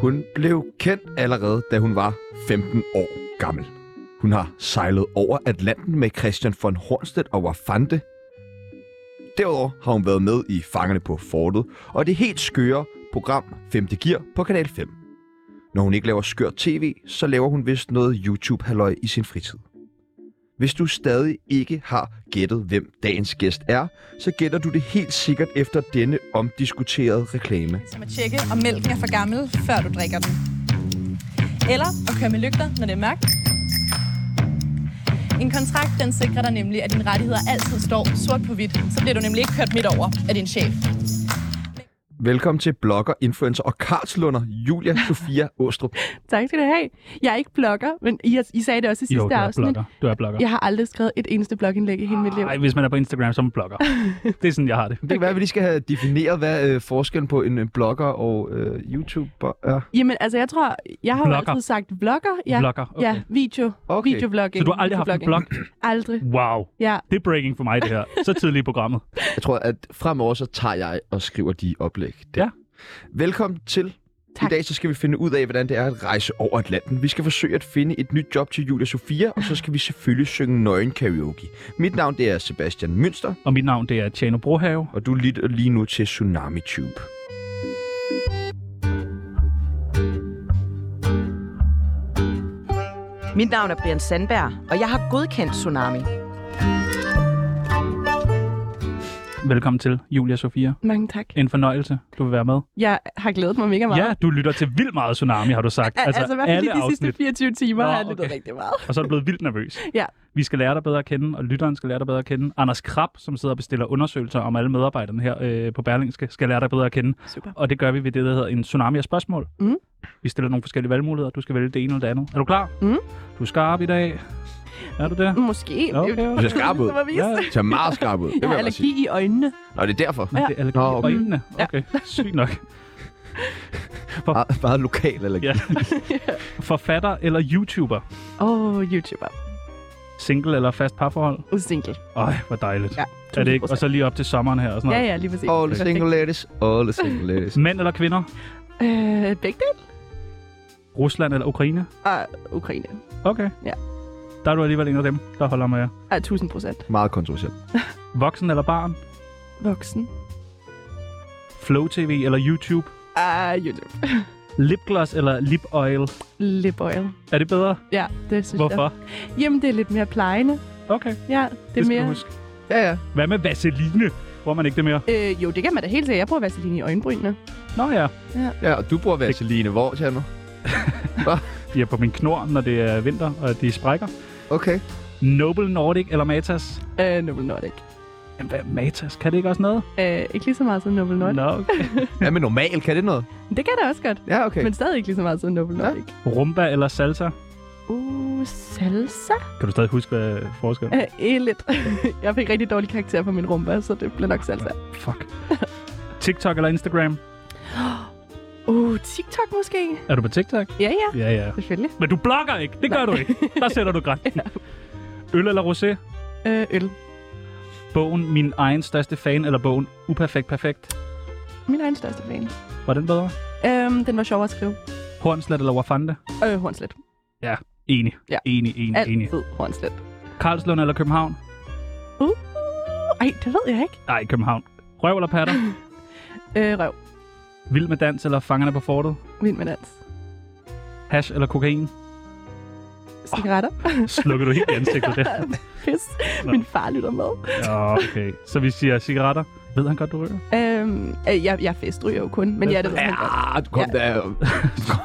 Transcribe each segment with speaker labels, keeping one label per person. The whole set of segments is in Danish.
Speaker 1: Hun blev kendt allerede, da hun var 15 år gammel. Hun har sejlet over Atlanten med Christian von Hornstedt og Wafante. Derudover har hun været med i Fangerne på Fortet og det helt skøre program 5. Gear på Kanal 5. Når hun ikke laver skør tv, så laver hun vist noget YouTube-halløj i sin fritid. Hvis du stadig ikke har gættet, hvem dagens gæst er, så gætter du det helt sikkert efter denne omdiskuterede reklame.
Speaker 2: Som at tjekke, om mælken er for gammel, før du drikker den. Eller at køre med lygter, når det er mørkt. En kontrakt, den sikrer dig nemlig, at dine rettigheder altid står sort på hvidt. Så bliver du nemlig ikke kørt midt over af din chef.
Speaker 1: Velkommen til blogger, influencer og kartslunder Julia Sofia Åstrup.
Speaker 3: Tak skal du have. Jeg er ikke blogger, men I, har- I sagde det også i sidste
Speaker 4: Jo, du er
Speaker 3: afsnit.
Speaker 4: blogger. Du er blogger.
Speaker 3: Jeg har aldrig skrevet et eneste blogindlæg i hele mit liv.
Speaker 4: Ej, hvis man er på Instagram, så er man blogger. det er sådan, jeg har det.
Speaker 1: Det kan være, at vi lige skal have defineret, hvad øh, forskellen på en øh, blogger og øh, YouTuber er.
Speaker 3: Jamen, altså, jeg tror, jeg har jo
Speaker 4: Blogger.
Speaker 3: altid sagt blogger. Ja,
Speaker 4: Blogger, okay.
Speaker 3: ja video.
Speaker 1: Okay.
Speaker 3: Videoblogging.
Speaker 4: Så du har aldrig haft en blog?
Speaker 3: videoblogging. Aldrig.
Speaker 4: Wow.
Speaker 3: Ja,
Speaker 4: Det er breaking for mig, det her. Så tidligt i programmet.
Speaker 1: Jeg tror, at fremover så tager jeg og skriver de oplæg. Der.
Speaker 4: Ja.
Speaker 1: Velkommen til.
Speaker 3: Tak.
Speaker 1: I dag så skal vi finde ud af, hvordan det er at rejse over Atlanten. Vi skal forsøge at finde et nyt job til Julia Sofia, og så skal vi selvfølgelig synge nøgen karaoke. Mit navn det er Sebastian Mønster,
Speaker 4: Og mit navn, det er Tjano Brohave.
Speaker 1: og du lytter lige nu til Tsunami Tube.
Speaker 5: Mit navn er Brian Sandberg, og jeg har godkendt Tsunami.
Speaker 4: Velkommen til, Julia Sofia.
Speaker 3: mange tak.
Speaker 4: En fornøjelse, du vil være med.
Speaker 3: Jeg har glædet mig mega meget.
Speaker 4: Ja, du lytter til vildt meget Tsunami, har du sagt.
Speaker 3: altså, altså i hvert fald
Speaker 4: alle
Speaker 3: lige de sidste
Speaker 4: afsnit.
Speaker 3: 24 timer
Speaker 4: Nå,
Speaker 3: har jeg lyttet
Speaker 4: okay.
Speaker 3: rigtig meget.
Speaker 4: Og så er du blevet vildt nervøs.
Speaker 3: Ja.
Speaker 4: Vi skal lære dig bedre at kende, og lytteren skal lære dig bedre at kende. Anders Krab, som sidder og bestiller undersøgelser om alle medarbejderne her øh, på Berlingske, skal lære dig bedre at kende.
Speaker 3: Super.
Speaker 4: Og det gør vi ved det, der hedder en tsunami af spørgsmål.
Speaker 3: Mhm.
Speaker 4: Vi stiller nogle forskellige valgmuligheder. Du skal vælge det ene eller det andet. Er du klar?
Speaker 3: Mhm.
Speaker 4: Du er skarp i dag. Er du
Speaker 3: Mm.
Speaker 4: det?
Speaker 3: Måske.
Speaker 4: Okay, okay.
Speaker 1: Du ser skarp ud.
Speaker 3: Det var vist.
Speaker 4: Ja,
Speaker 1: Du ser meget skarp ud. Det
Speaker 3: Jeg
Speaker 1: vil
Speaker 3: har
Speaker 1: jeg bare sige.
Speaker 3: allergi i øjnene.
Speaker 1: Nå, det er derfor.
Speaker 4: Men det er allergi
Speaker 1: Nå,
Speaker 4: Nå,
Speaker 1: okay.
Speaker 4: okay. og øjnene.
Speaker 3: Ja.
Speaker 4: Okay, sygt nok.
Speaker 1: Meget, meget lokal allergi.
Speaker 4: Ja. Forfatter eller YouTuber?
Speaker 3: Åh, oh, YouTuber.
Speaker 4: Single eller fast parforhold?
Speaker 3: Single.
Speaker 4: Øj, hvor dejligt.
Speaker 3: Ja,
Speaker 4: er det ikke?
Speaker 3: 1000%.
Speaker 4: Og så lige op til sommeren her og sådan
Speaker 3: Ja,
Speaker 4: noget.
Speaker 3: ja, lige præcis.
Speaker 1: All the
Speaker 3: Perfekt.
Speaker 1: single ladies, all the single ladies.
Speaker 4: Mænd eller kvinder?
Speaker 3: Øh, begge dele?
Speaker 4: Rusland eller Ukraine?
Speaker 3: Og Ukraine.
Speaker 4: Okay.
Speaker 3: Ja.
Speaker 4: Der er du alligevel en af dem, der holder med jer.
Speaker 3: Ej, 1000 Ah, procent.
Speaker 1: Meget kontroversielt.
Speaker 4: Voksen eller barn?
Speaker 3: Voksen.
Speaker 4: Flow TV eller YouTube?
Speaker 3: Ah, YouTube.
Speaker 4: Lipgloss eller lip oil?
Speaker 3: Lip oil.
Speaker 4: Er det bedre?
Speaker 3: Ja, det synes
Speaker 4: Hvorfor?
Speaker 3: jeg. Jamen, det er lidt mere plejende.
Speaker 4: Okay,
Speaker 3: Ja, det
Speaker 4: det
Speaker 3: er
Speaker 4: skal du
Speaker 3: mere...
Speaker 4: huske.
Speaker 1: Ja, ja.
Speaker 4: Hvad med vaseline? Bruger man ikke det mere?
Speaker 3: Øh, jo, det kan man da helt sikkert. Jeg bruger vaseline i øjenbrynene.
Speaker 4: Nå ja,
Speaker 1: ja og du bruger vaseline hvor, Tjerno?
Speaker 4: de er på min knor, når det er vinter, og de sprækker.
Speaker 1: Okay.
Speaker 4: Noble Nordic eller Matas?
Speaker 3: Øh, Noble Nordic.
Speaker 4: Jamen, hvad er Matas? Kan det ikke også noget?
Speaker 3: Øh, ikke lige så meget som Noble Nordic.
Speaker 4: Nå, okay.
Speaker 1: Ja, men normal, kan det noget?
Speaker 3: Det kan det også godt.
Speaker 1: Ja, okay.
Speaker 3: Men stadig ikke lige så meget som Noble
Speaker 1: Ja.
Speaker 3: Nordic.
Speaker 4: Rumba eller salsa?
Speaker 3: Uh, salsa?
Speaker 4: Kan du stadig huske, hvad forskellen er?
Speaker 3: Øh, eh, lidt. jeg fik rigtig dårlig karakter på min rumba, så det blev nok salsa.
Speaker 4: Fuck. TikTok eller Instagram?
Speaker 3: Uh, TikTok måske?
Speaker 4: Er du på TikTok?
Speaker 3: Ja, ja.
Speaker 4: Ja, ja.
Speaker 3: Selvfølgelig.
Speaker 4: Men du blogger ikke! Det gør du ikke! Der sætter du grænsen. Øl eller rosé?
Speaker 3: Øh, øl.
Speaker 4: Bogen Min egen største fan, eller bogen Uperfekt Perfekt?
Speaker 3: Min egen største fan.
Speaker 4: Var den bedre?
Speaker 3: Øhm, den var sjov at skrive.
Speaker 4: Hornslet eller Wafande?
Speaker 3: Øh, Hornslet.
Speaker 4: Enig.
Speaker 3: Ja.
Speaker 4: Enig, enig, enig.
Speaker 3: Altid Hornslet.
Speaker 4: Karlslund eller København?
Speaker 3: Uh, ej, det ved jeg ikke.
Speaker 4: Nej, København. Røv eller patter?
Speaker 3: Øh, røv.
Speaker 4: Vild med dans eller Fangerne på fortet?
Speaker 3: Vild med dans.
Speaker 4: Hash eller kokain?
Speaker 3: Cigaretter.
Speaker 4: Slukker du helt i ansigtet der?
Speaker 3: Pis.
Speaker 4: Nå.
Speaker 3: Min far lytter med.
Speaker 4: Ja, okay. Så vi siger cigaretter. Ved han godt, du ryger?
Speaker 3: Øhm, øh, jeg, jeg festryger jo kun, men ja, det ved han godt.
Speaker 1: Ja, du kom
Speaker 3: Ja.
Speaker 1: der.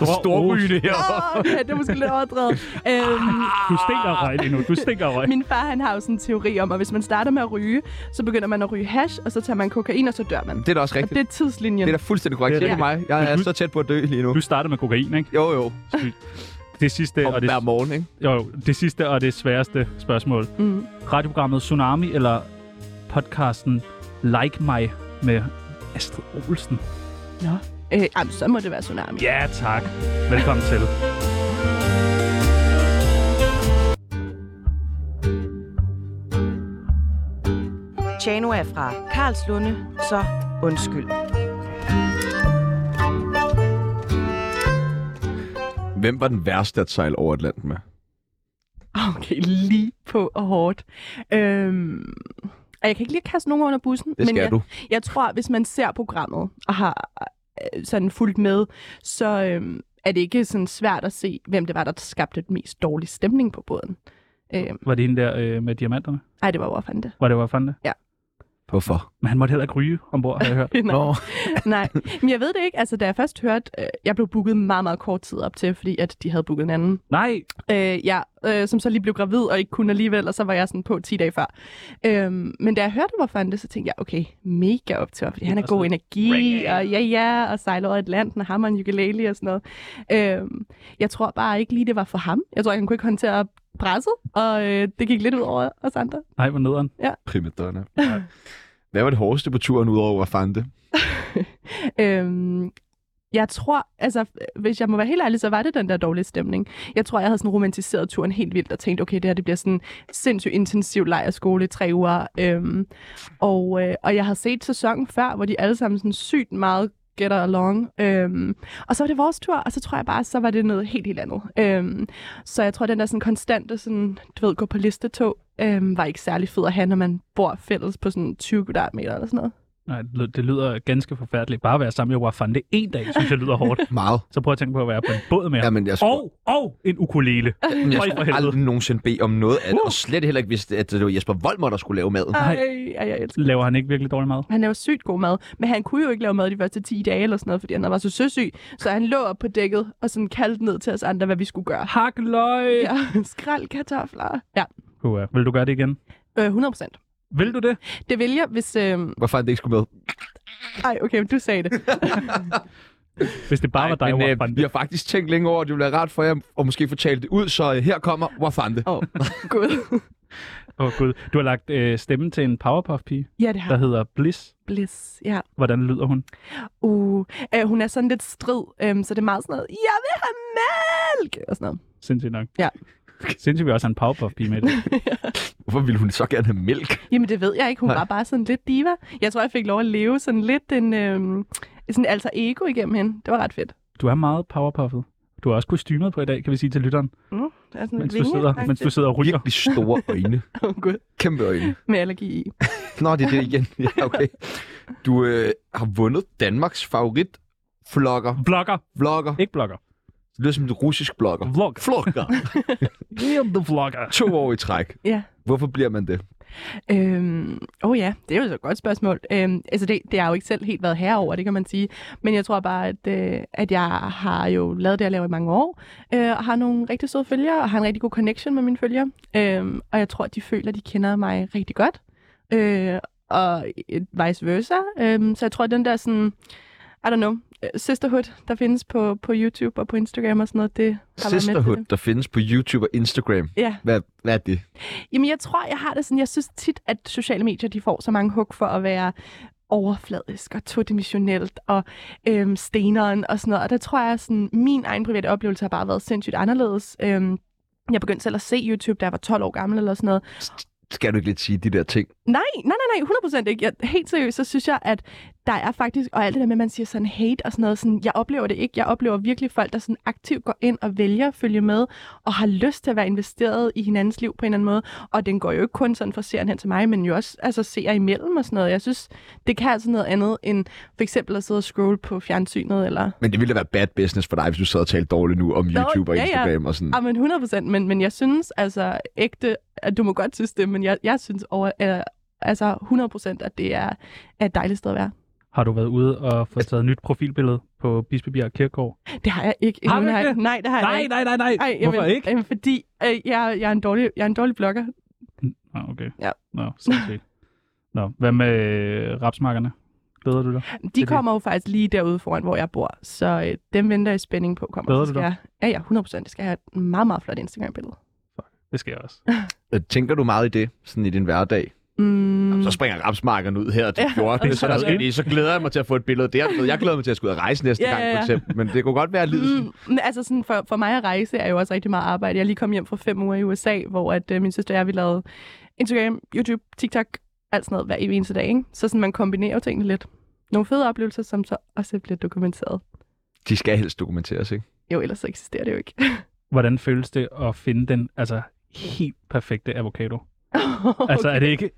Speaker 4: Stor
Speaker 1: Storbyne her.
Speaker 3: Åh, okay, det er måske lidt overdrevet. Øhm,
Speaker 4: Du stinker af røg lige nu. Du stinker af røg.
Speaker 3: min far, han har jo sådan en teori om, at hvis man starter med at ryge, så begynder man at ryge hash, og så tager man kokain, og så dør man.
Speaker 1: Det er da også
Speaker 3: Og
Speaker 1: rigtigt.
Speaker 3: det er tidslinjen.
Speaker 1: Det er da fuldstændig korrekt.
Speaker 4: Det er
Speaker 1: Det er mig. Jeg er
Speaker 4: Men du-
Speaker 1: så tæt på at dø lige nu.
Speaker 4: Du startede med kokain, ikke?
Speaker 1: Jo, jo.
Speaker 4: Det sidste,
Speaker 1: Og
Speaker 4: og det,
Speaker 1: hver morgen, ikke?
Speaker 4: jo, jo, det sidste og det sværeste spørgsmål.
Speaker 3: Mm.
Speaker 4: Radioprogrammet Tsunami eller podcasten Like Mig med Astrid Olsen.
Speaker 3: Øh, jamen, så må det være tsunami.
Speaker 4: Ja, tak. Velkommen til.
Speaker 5: Tjano er fra Karlslunde, så undskyld.
Speaker 1: Hvem var den værste at sejle over Atlanten med?
Speaker 3: Okay, lige på og hårdt. Øhm, og jeg kan ikke lige kaste nogen under bussen,
Speaker 1: Det skal
Speaker 3: jeg,
Speaker 1: du.
Speaker 3: jeg tror, hvis man ser programmet og har øh, sådan fulgt med, så øhm, er det ikke sådan svært at se, hvem det var, der skabte den mest dårlige stemning på båden. Øhm,
Speaker 4: Var det hende der øh, med diamanterne?
Speaker 3: ej, det var hvor fandt det.
Speaker 4: Var det, hvor jeg fandt det?
Speaker 1: Hvorfor?
Speaker 4: Men han måtte heller ikke ryge ombord, har jeg hørt.
Speaker 3: Nej.
Speaker 1: Nå,
Speaker 3: Nej, men jeg ved det ikke. Altså, da jeg først hørte, øh, jeg blev booket meget, meget kort tid op til, fordi at de havde booket en anden.
Speaker 4: Nej,
Speaker 3: Øh, ja, øh, som så lige blev gravid og ikke kunne alligevel, og så var jeg sådan på 10 dage før. Øh, men da jeg hørte, hvorfor han det, så tænkte jeg, okay, mega optur, fordi han har
Speaker 4: Og så-
Speaker 3: god energi, og ja, ja, og sejler over Atlanten, og hammer en ukulele og sådan noget. Øh, jeg tror bare ikke lige, det var for ham. Jeg tror, han kunne ikke håndtere presset, og øh, det gik lidt ud over os andre.
Speaker 4: nej, hvor nederen.
Speaker 1: primadonna. Hvad var det hårdeste på turen udover at fande?
Speaker 3: Øhm, jeg tror, altså, hvis jeg må være helt ærlig, så var det den der dårlige stemning. Jeg tror, jeg havde sådan romantiseret turen helt vildt og tænkt, okay, det her det bliver sådan en sindssygt intensiv lejerskole i tre uger. Øhm, og, øh, og jeg havde set sæsonen før, hvor de alle sammen sådan sygt meget getter along. Øhm, og så var det vores tur, og så tror jeg bare, så var det noget helt, helt andet. Øhm, så jeg tror, den der sådan konstante, sådan, du ved, gå på listetog, øhm, var ikke særlig fed at have, når man bor fælles på sådan 20 kvadratmeter eller sådan noget.
Speaker 4: Nej, det lyder- det lyder ganske forfærdeligt. Bare at være sammen med Wafande en dag, synes jeg lyder hårdt.
Speaker 1: Meget.
Speaker 4: Så prøv at tænke på at være på en båd med ham.
Speaker 1: Jamen, jeg skulle,
Speaker 4: Og, og en ukulele.
Speaker 1: oh, jeg
Speaker 4: for
Speaker 1: skulle
Speaker 4: helvede. Uh.
Speaker 1: aldrig nogensinde bede om noget af det, og slet heller ikke vidste, at det var Jesper Volmer, der skulle lave maden.
Speaker 4: Nej.
Speaker 3: Ej, ej, jeg elsker
Speaker 4: Laver han ikke virkelig dårlig mad?
Speaker 3: Han laver sygt god mad, men han kunne jo ikke lave mad de første 10 dage eller sådan noget, fordi han var så søsyg. Så han lå op på dækket og sådan kaldte ned til os andre, hvad vi skulle gøre.
Speaker 4: Hak løg! Ja.
Speaker 3: Ja, skrald kartofler. Ja,
Speaker 4: Vil du gøre det igen?
Speaker 3: øh, 100 procent.
Speaker 4: Vil du det?
Speaker 3: Det vil jeg, hvis... Øh...
Speaker 1: Hvor fanden det ikke skulle med?
Speaker 3: Ej, okay, men du sagde det.
Speaker 4: Hvis det bare var dig,
Speaker 1: men, øh,
Speaker 4: Wafande.
Speaker 1: vi har faktisk tænkt længe over, at det ville være rart for jer, og måske få talt det ud, så øh, her kommer Hvor fanden det?
Speaker 3: Åh, oh, gud.
Speaker 4: Åh oh, gud. Du har lagt øh, stemmen til en Powerpuff-pige,
Speaker 3: Ja, det
Speaker 4: der
Speaker 3: har
Speaker 4: hedder Bliss.
Speaker 3: Bliss. Ja.
Speaker 4: Hvordan lyder hun?
Speaker 3: Uh, øh, hun er sådan lidt strid, øhm, så det er meget sådan noget, jeg vil have mælk! Og sådan noget.
Speaker 4: Sindssygt nok.
Speaker 3: Ja.
Speaker 4: Sindssygt, vi også har en Powerpuff-pige med det.
Speaker 1: Hvorfor ville hun så gerne have mælk?
Speaker 3: Jamen, det ved jeg ikke. Hun
Speaker 1: Nej.
Speaker 3: var bare sådan lidt diva. Jeg tror, jeg fik lov at leve sådan lidt en... Øhm, sådan alter ego igennem hende. Det var ret fedt.
Speaker 4: Du er meget Powerpuffet. Du har også kostymet på i dag, kan vi sige til lytteren,
Speaker 3: Mm, det er sådan
Speaker 4: mens du
Speaker 3: vinge-
Speaker 4: sidder, mens du sidder og ryger.
Speaker 1: Virkelig store øjne.
Speaker 3: Åh, oh, gud.
Speaker 1: Kæmpe øjne.
Speaker 3: Med allergi i.
Speaker 1: Nå, det er det igen. Ja, okay. Du øh, har vundet Danmarks favorit vlogger.
Speaker 4: Vlogger.
Speaker 1: Vlogger.
Speaker 4: Ikke blogger.
Speaker 1: Det lyder som en russisk blogger.
Speaker 4: Vlog.
Speaker 1: Vlogger.
Speaker 4: Real the vlogger.
Speaker 1: To år i træk.
Speaker 3: Ja.
Speaker 1: Hvorfor bliver man det?
Speaker 3: Øhm, oh ja, det er jo så et godt spørgsmål. Øhm, altså det, det har jo ikke selv helt været herover, det kan man sige. Men jeg tror bare, at, øh, at jeg har jo lavet det, jeg laver i mange år. Øh, og har nogle rigtig søde følgere, og har en rigtig god connection med mine følgere. Øhm, og jeg tror, at de føler, at de kender mig rigtig godt. Øh, og øh, vice versa. Øhm, så jeg tror, at den der sådan, I don't know, øh, sisterhood, der findes på, på YouTube og på Instagram og sådan noget, det har været med til
Speaker 1: Sisterhood,
Speaker 3: det.
Speaker 1: der findes på YouTube og Instagram.
Speaker 3: Ja.
Speaker 1: Hvad, hvad er det?
Speaker 3: Jamen, jeg tror, jeg har det sådan. Jeg synes tit, at sociale medier de får så mange hug for at være overfladisk og todimensionelt og øhm, steneren og sådan noget. Og der tror jeg, sådan, min egen private oplevelse har bare været sindssygt anderledes. Øhm, jeg begyndte selv at se YouTube, da jeg var 12 år gammel eller sådan noget.
Speaker 1: Skal du ikke lidt sige de der ting?
Speaker 3: Nej, nej, nej, nej, 100% ikke. Jeg, helt seriøst, så synes jeg, at der er faktisk, og alt det der med, at man siger sådan hate og sådan noget, sådan, jeg oplever det ikke. Jeg oplever virkelig folk, der sådan aktivt går ind og vælger at følge med, og har lyst til at være investeret i hinandens liv på en eller anden måde. Og den går jo ikke kun sådan fra serien hen til mig, men jo også altså, ser imellem og sådan noget. Jeg synes, det kan altså noget andet end for eksempel at sidde og scrolle på fjernsynet, eller
Speaker 1: Men det ville da være bad business for dig, hvis du sad og talte dårligt nu om YouTube og
Speaker 3: ja, ja.
Speaker 1: Instagram og sådan.
Speaker 3: Ja, Ah, men 100 procent, men, men jeg synes altså ægte, at du må godt synes det, men jeg, jeg synes over, øh, altså 100 procent, at det er, er et dejligt sted at være.
Speaker 4: Har du været ude og fået taget nyt profilbillede på Bispebjerg Kirkegård?
Speaker 3: Det har jeg ikke.
Speaker 4: Har
Speaker 3: endnu,
Speaker 4: du ikke
Speaker 3: nej.
Speaker 4: det?
Speaker 3: Nej, det har jeg
Speaker 4: Nej,
Speaker 3: ikke.
Speaker 4: nej, nej, nej.
Speaker 3: Ej,
Speaker 4: Hvorfor
Speaker 3: jamen,
Speaker 4: ikke?
Speaker 3: Jamen, fordi øh, jeg, jeg, er en dårlig, jeg er en dårlig blogger.
Speaker 4: Nå, okay.
Speaker 3: Ja.
Speaker 4: Nå, sindssygt. Nå, hvad med øh, rapsmarkerne? Glæder du dig?
Speaker 3: De
Speaker 4: det.
Speaker 3: kommer jo faktisk lige derude foran, hvor jeg bor, så øh, dem venter jeg i spænding på. Kommer.
Speaker 4: Glæder
Speaker 3: Så
Speaker 4: du
Speaker 3: skal jeg, Ja, ja, 100 procent. Det skal jeg have et meget, meget flot Instagram-billede.
Speaker 4: Det sker også.
Speaker 1: Øh, Tænker du meget i det, sådan i din hverdag?
Speaker 3: Mm,
Speaker 1: Så springer rapsmarkerne ud her til
Speaker 3: Ja,
Speaker 1: 14.
Speaker 4: og
Speaker 1: så, der
Speaker 4: så-
Speaker 1: skal lige, så glæder jeg mig til at få et billede der. Du ved, Jeg glæder mig til at skulle ud og rejse næste
Speaker 3: Ja,
Speaker 1: gang,
Speaker 3: ja,
Speaker 1: for
Speaker 3: ja.
Speaker 1: eksempel. Men det kunne godt være lidt
Speaker 3: Mm, men altså sådan for, for mig at rejse er jo også rigtig meget arbejde. Jeg er lige kommet hjem fra fem uger i USA, hvor at, øh, min søster og jeg, vi lavede Instagram, YouTube, TikTok, alt sådan noget hver evig eneste dag. Ikke? Så sådan, man kombinerer jo tingene lidt. Nogle fede oplevelser, som så også bliver dokumenteret.
Speaker 1: De skal helst dokumenteres, ikke?
Speaker 3: Jo, ellers så eksisterer det jo ikke.
Speaker 4: Hvordan føles det at finde den altså, helt perfekte avocado? Okay. Altså, er det ikke,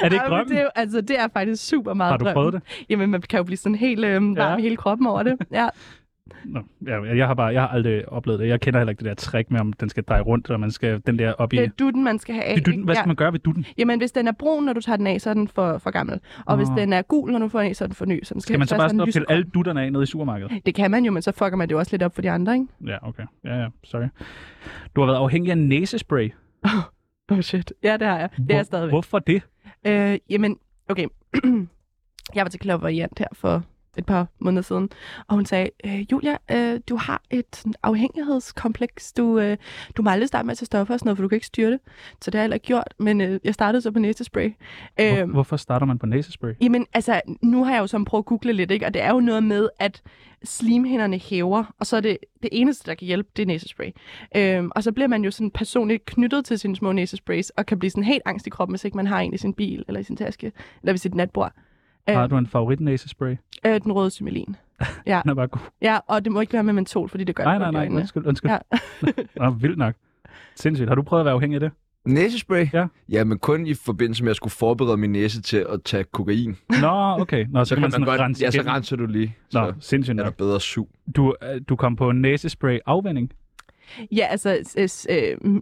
Speaker 4: er det ikke
Speaker 3: Ej, men
Speaker 4: drømmen?
Speaker 3: Det er, jo- altså, det er faktisk super meget
Speaker 4: Har du
Speaker 3: drømmen.
Speaker 4: prøvet det?
Speaker 3: Jamen, man kan jo blive sådan helt øh, varm
Speaker 4: Ja.
Speaker 3: i hele kroppen over det. Ja.
Speaker 4: Nå, jeg, jeg, har bare, jeg har aldrig oplevet det. Jeg kender heller ikke det der trick med, om den skal dreje rundt, eller man skal den der op i...
Speaker 3: Det er dutten, man skal have af.
Speaker 4: Det er dutten.
Speaker 3: ikke?
Speaker 4: Hvad
Speaker 3: ja.
Speaker 4: skal man gøre ved dutten?
Speaker 3: Jamen, hvis den er brun, når du tager den af, så er den for, for gammel. Og hvis
Speaker 4: Nå.
Speaker 3: den er gul, når du får den af, så er den for ny. Så den skal,
Speaker 4: Skal man
Speaker 3: helst
Speaker 4: så
Speaker 3: være
Speaker 4: bare stå
Speaker 3: sådan
Speaker 4: og pille
Speaker 3: lysegrøn.
Speaker 4: alle dutterne af nede i supermarkedet?
Speaker 3: Det kan man jo, men så fucker man det jo også lidt op for de andre, ikke?
Speaker 4: Ja, okay. Ja, ja, sorry. Du har været afhængig af næsespray.
Speaker 3: Oh shit. Ja, det har jeg. Det er jeg stadigvæk.
Speaker 4: Hvorfor det?
Speaker 3: Øh, jamen, okay. jeg var til klaverjant her for et par måneder siden, og hun sagde, øh, Julia, øh, du har et sådan, afhængighedskompleks. Du, øh, du må aldrig starte med at tage stoffer og sådan noget, for du kan ikke styre det. Så det har jeg heller ikke gjort, men øh, jeg startede så på næsespray.
Speaker 4: Hvor,
Speaker 3: Øh,
Speaker 4: hvorfor starter man på næsespray?
Speaker 3: Jamen, altså, nu har jeg jo sådan prøvet at google lidt, ikke? og det er jo noget med, at slimhinderne hæver, og så er det det eneste, der kan hjælpe, det er næsespray. Øhm, og så bliver man jo sådan personligt knyttet til sine små næsesprays, og kan blive sådan helt angst i kroppen, hvis ikke man har en i sin bil, eller i sin taske, eller ved sit natbord. Øhm,
Speaker 4: Har du en favorit næsespray?
Speaker 3: Øh, den røde symelin.
Speaker 4: Den er bare god.
Speaker 3: Ja, og det må ikke være med mentol, fordi det gør
Speaker 4: Nej,
Speaker 3: det
Speaker 4: nej,
Speaker 3: ondt i
Speaker 4: nej.
Speaker 3: øjnene.
Speaker 4: Undskyld, undskyld.
Speaker 3: Ja.
Speaker 4: Ja. Nå, vildt nok. Sindssygt. Har du prøvet at være afhængig af det?
Speaker 1: Næsespray?
Speaker 4: Ja.
Speaker 1: Jamen kun i forbindelse med, at jeg skulle forberede min næse til at tage kokain.
Speaker 4: Nå, okay. Nå, så,
Speaker 1: Så
Speaker 4: kan man,
Speaker 1: man
Speaker 4: sådan
Speaker 1: godt,
Speaker 4: rense
Speaker 1: ja, så
Speaker 4: igennem.
Speaker 1: renser du lige. Så
Speaker 4: Nå, sindssygt
Speaker 1: er der
Speaker 4: nok.
Speaker 1: bedre sug.
Speaker 4: Du, øh, du kom på næsespray afvænding.
Speaker 3: Ja, altså, s- s- øh,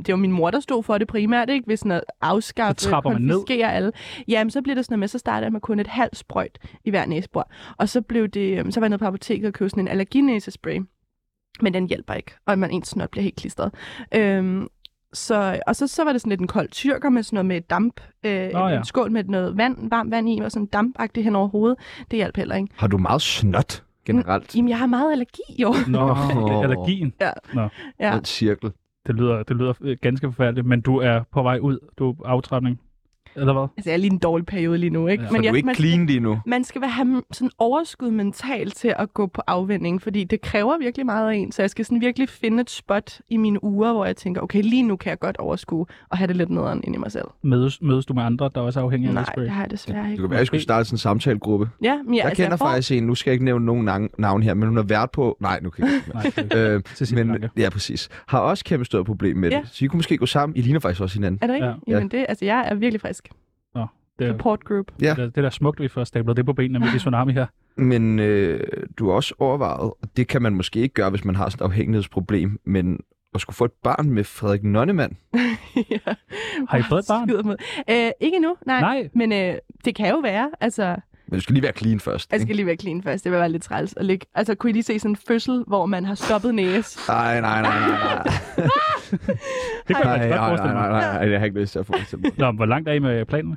Speaker 3: det var min mor, der stod for det primært, ikke? Ved sådan at afskaffe,
Speaker 4: Så trapper man ned.
Speaker 3: konfiskere alle. Jamen, så bliver det sådan noget med, så startede jeg med kun et halvt sprøjt i hver næsebor. Og så, blev det, øh, så var jeg nede på apoteket og købte sådan en allerginæsespray. Men den hjælper ikke, og man ens snot bliver helt klistret. Øhm, så, og så, så var det sådan lidt en kold tyrker med sådan noget med damp. Øh,
Speaker 4: Nå
Speaker 3: oh,
Speaker 4: ja.
Speaker 3: ja. En skål med noget vand, varmt vand i, og sådan dampagtigt hen over hovedet. Det hjalp heller ikke.
Speaker 1: Har du meget snot generelt?
Speaker 3: Jamen, jeg har meget allergi, jo.
Speaker 4: Nå,
Speaker 1: Nå.
Speaker 4: allergien.
Speaker 3: Ja.
Speaker 1: Den cirkel.
Speaker 4: Det lyder, det lyder øh, ganske forfærdeligt, men du er på vej ud. Du er aftrapning. Eller hvad?
Speaker 3: Altså, jeg er lige i en dårlig periode lige nu, ikke?
Speaker 4: Ja.
Speaker 1: Men så
Speaker 3: jeg,
Speaker 1: du er ikke
Speaker 3: man-
Speaker 1: clean lige nu?
Speaker 3: man skal være- have sådan overskud mentalt til at gå på afvending, fordi det kræver virkelig meget af en, så jeg skal sådan virkelig finde et spot i mine uger, hvor jeg tænker, okay, lige nu kan jeg godt overskue og have det lidt nederen ind i mig selv.
Speaker 4: Mødes, mødes du med andre, der også er afhængige af
Speaker 3: Nej,
Speaker 4: næsespray?
Speaker 3: det har jeg desværre
Speaker 1: Det
Speaker 3: ikke.
Speaker 1: kan være, at jeg skulle starte sådan en samtalegruppe.
Speaker 3: Ja, men jeg,
Speaker 1: Jeg kender
Speaker 3: får-
Speaker 1: faktisk en, nu skal jeg ikke nævne nogen navn- navn her, men hun har været på... Nej, nu kan jeg ikke.
Speaker 4: Nej, det er
Speaker 1: Øh,
Speaker 4: Cecilie
Speaker 1: men,
Speaker 4: Lange.
Speaker 1: ja, præcis. Har også kæmpe stort problem med
Speaker 3: Ja.
Speaker 1: det. Så I kunne måske gå sammen. I ligner faktisk også hinanden.
Speaker 3: Er det ikke?
Speaker 1: Ja.
Speaker 3: Ja. Jamen det, altså jeg er virkelig frisk.
Speaker 4: det, er-
Speaker 3: Support group.
Speaker 1: Ja.
Speaker 4: det, er- det er da smukt, vi får stablet det på benene med de tsunami her.
Speaker 1: Men øh, du har også overvejet, og det kan man måske ikke gøre, hvis man har sådan et afhængighedsproblem, men at skulle få et barn med Frederik Nonnemann.
Speaker 3: ja.
Speaker 4: Har I fået et barn?
Speaker 3: Skyder mod. Æ, ikke endnu, nej.
Speaker 4: Nej,
Speaker 3: Men øh, det kan jo være, altså,
Speaker 1: Men du skal lige være clean først.
Speaker 3: jeg
Speaker 1: ikke?
Speaker 3: skal lige være clean først, det vil være lidt træls at ligge. Altså, kunne I lige se sådan en fødsel, hvor man har stoppet næse?
Speaker 1: Nej, nej, nej, nej, nej.
Speaker 4: det kan jeg
Speaker 1: Nej,
Speaker 4: faktisk godt
Speaker 1: nej, nej,
Speaker 4: forestille mig.
Speaker 1: nej, nej, nej, jeg har ikke lyst til at få det til mig.
Speaker 4: Nå, hvor langt er I med planen?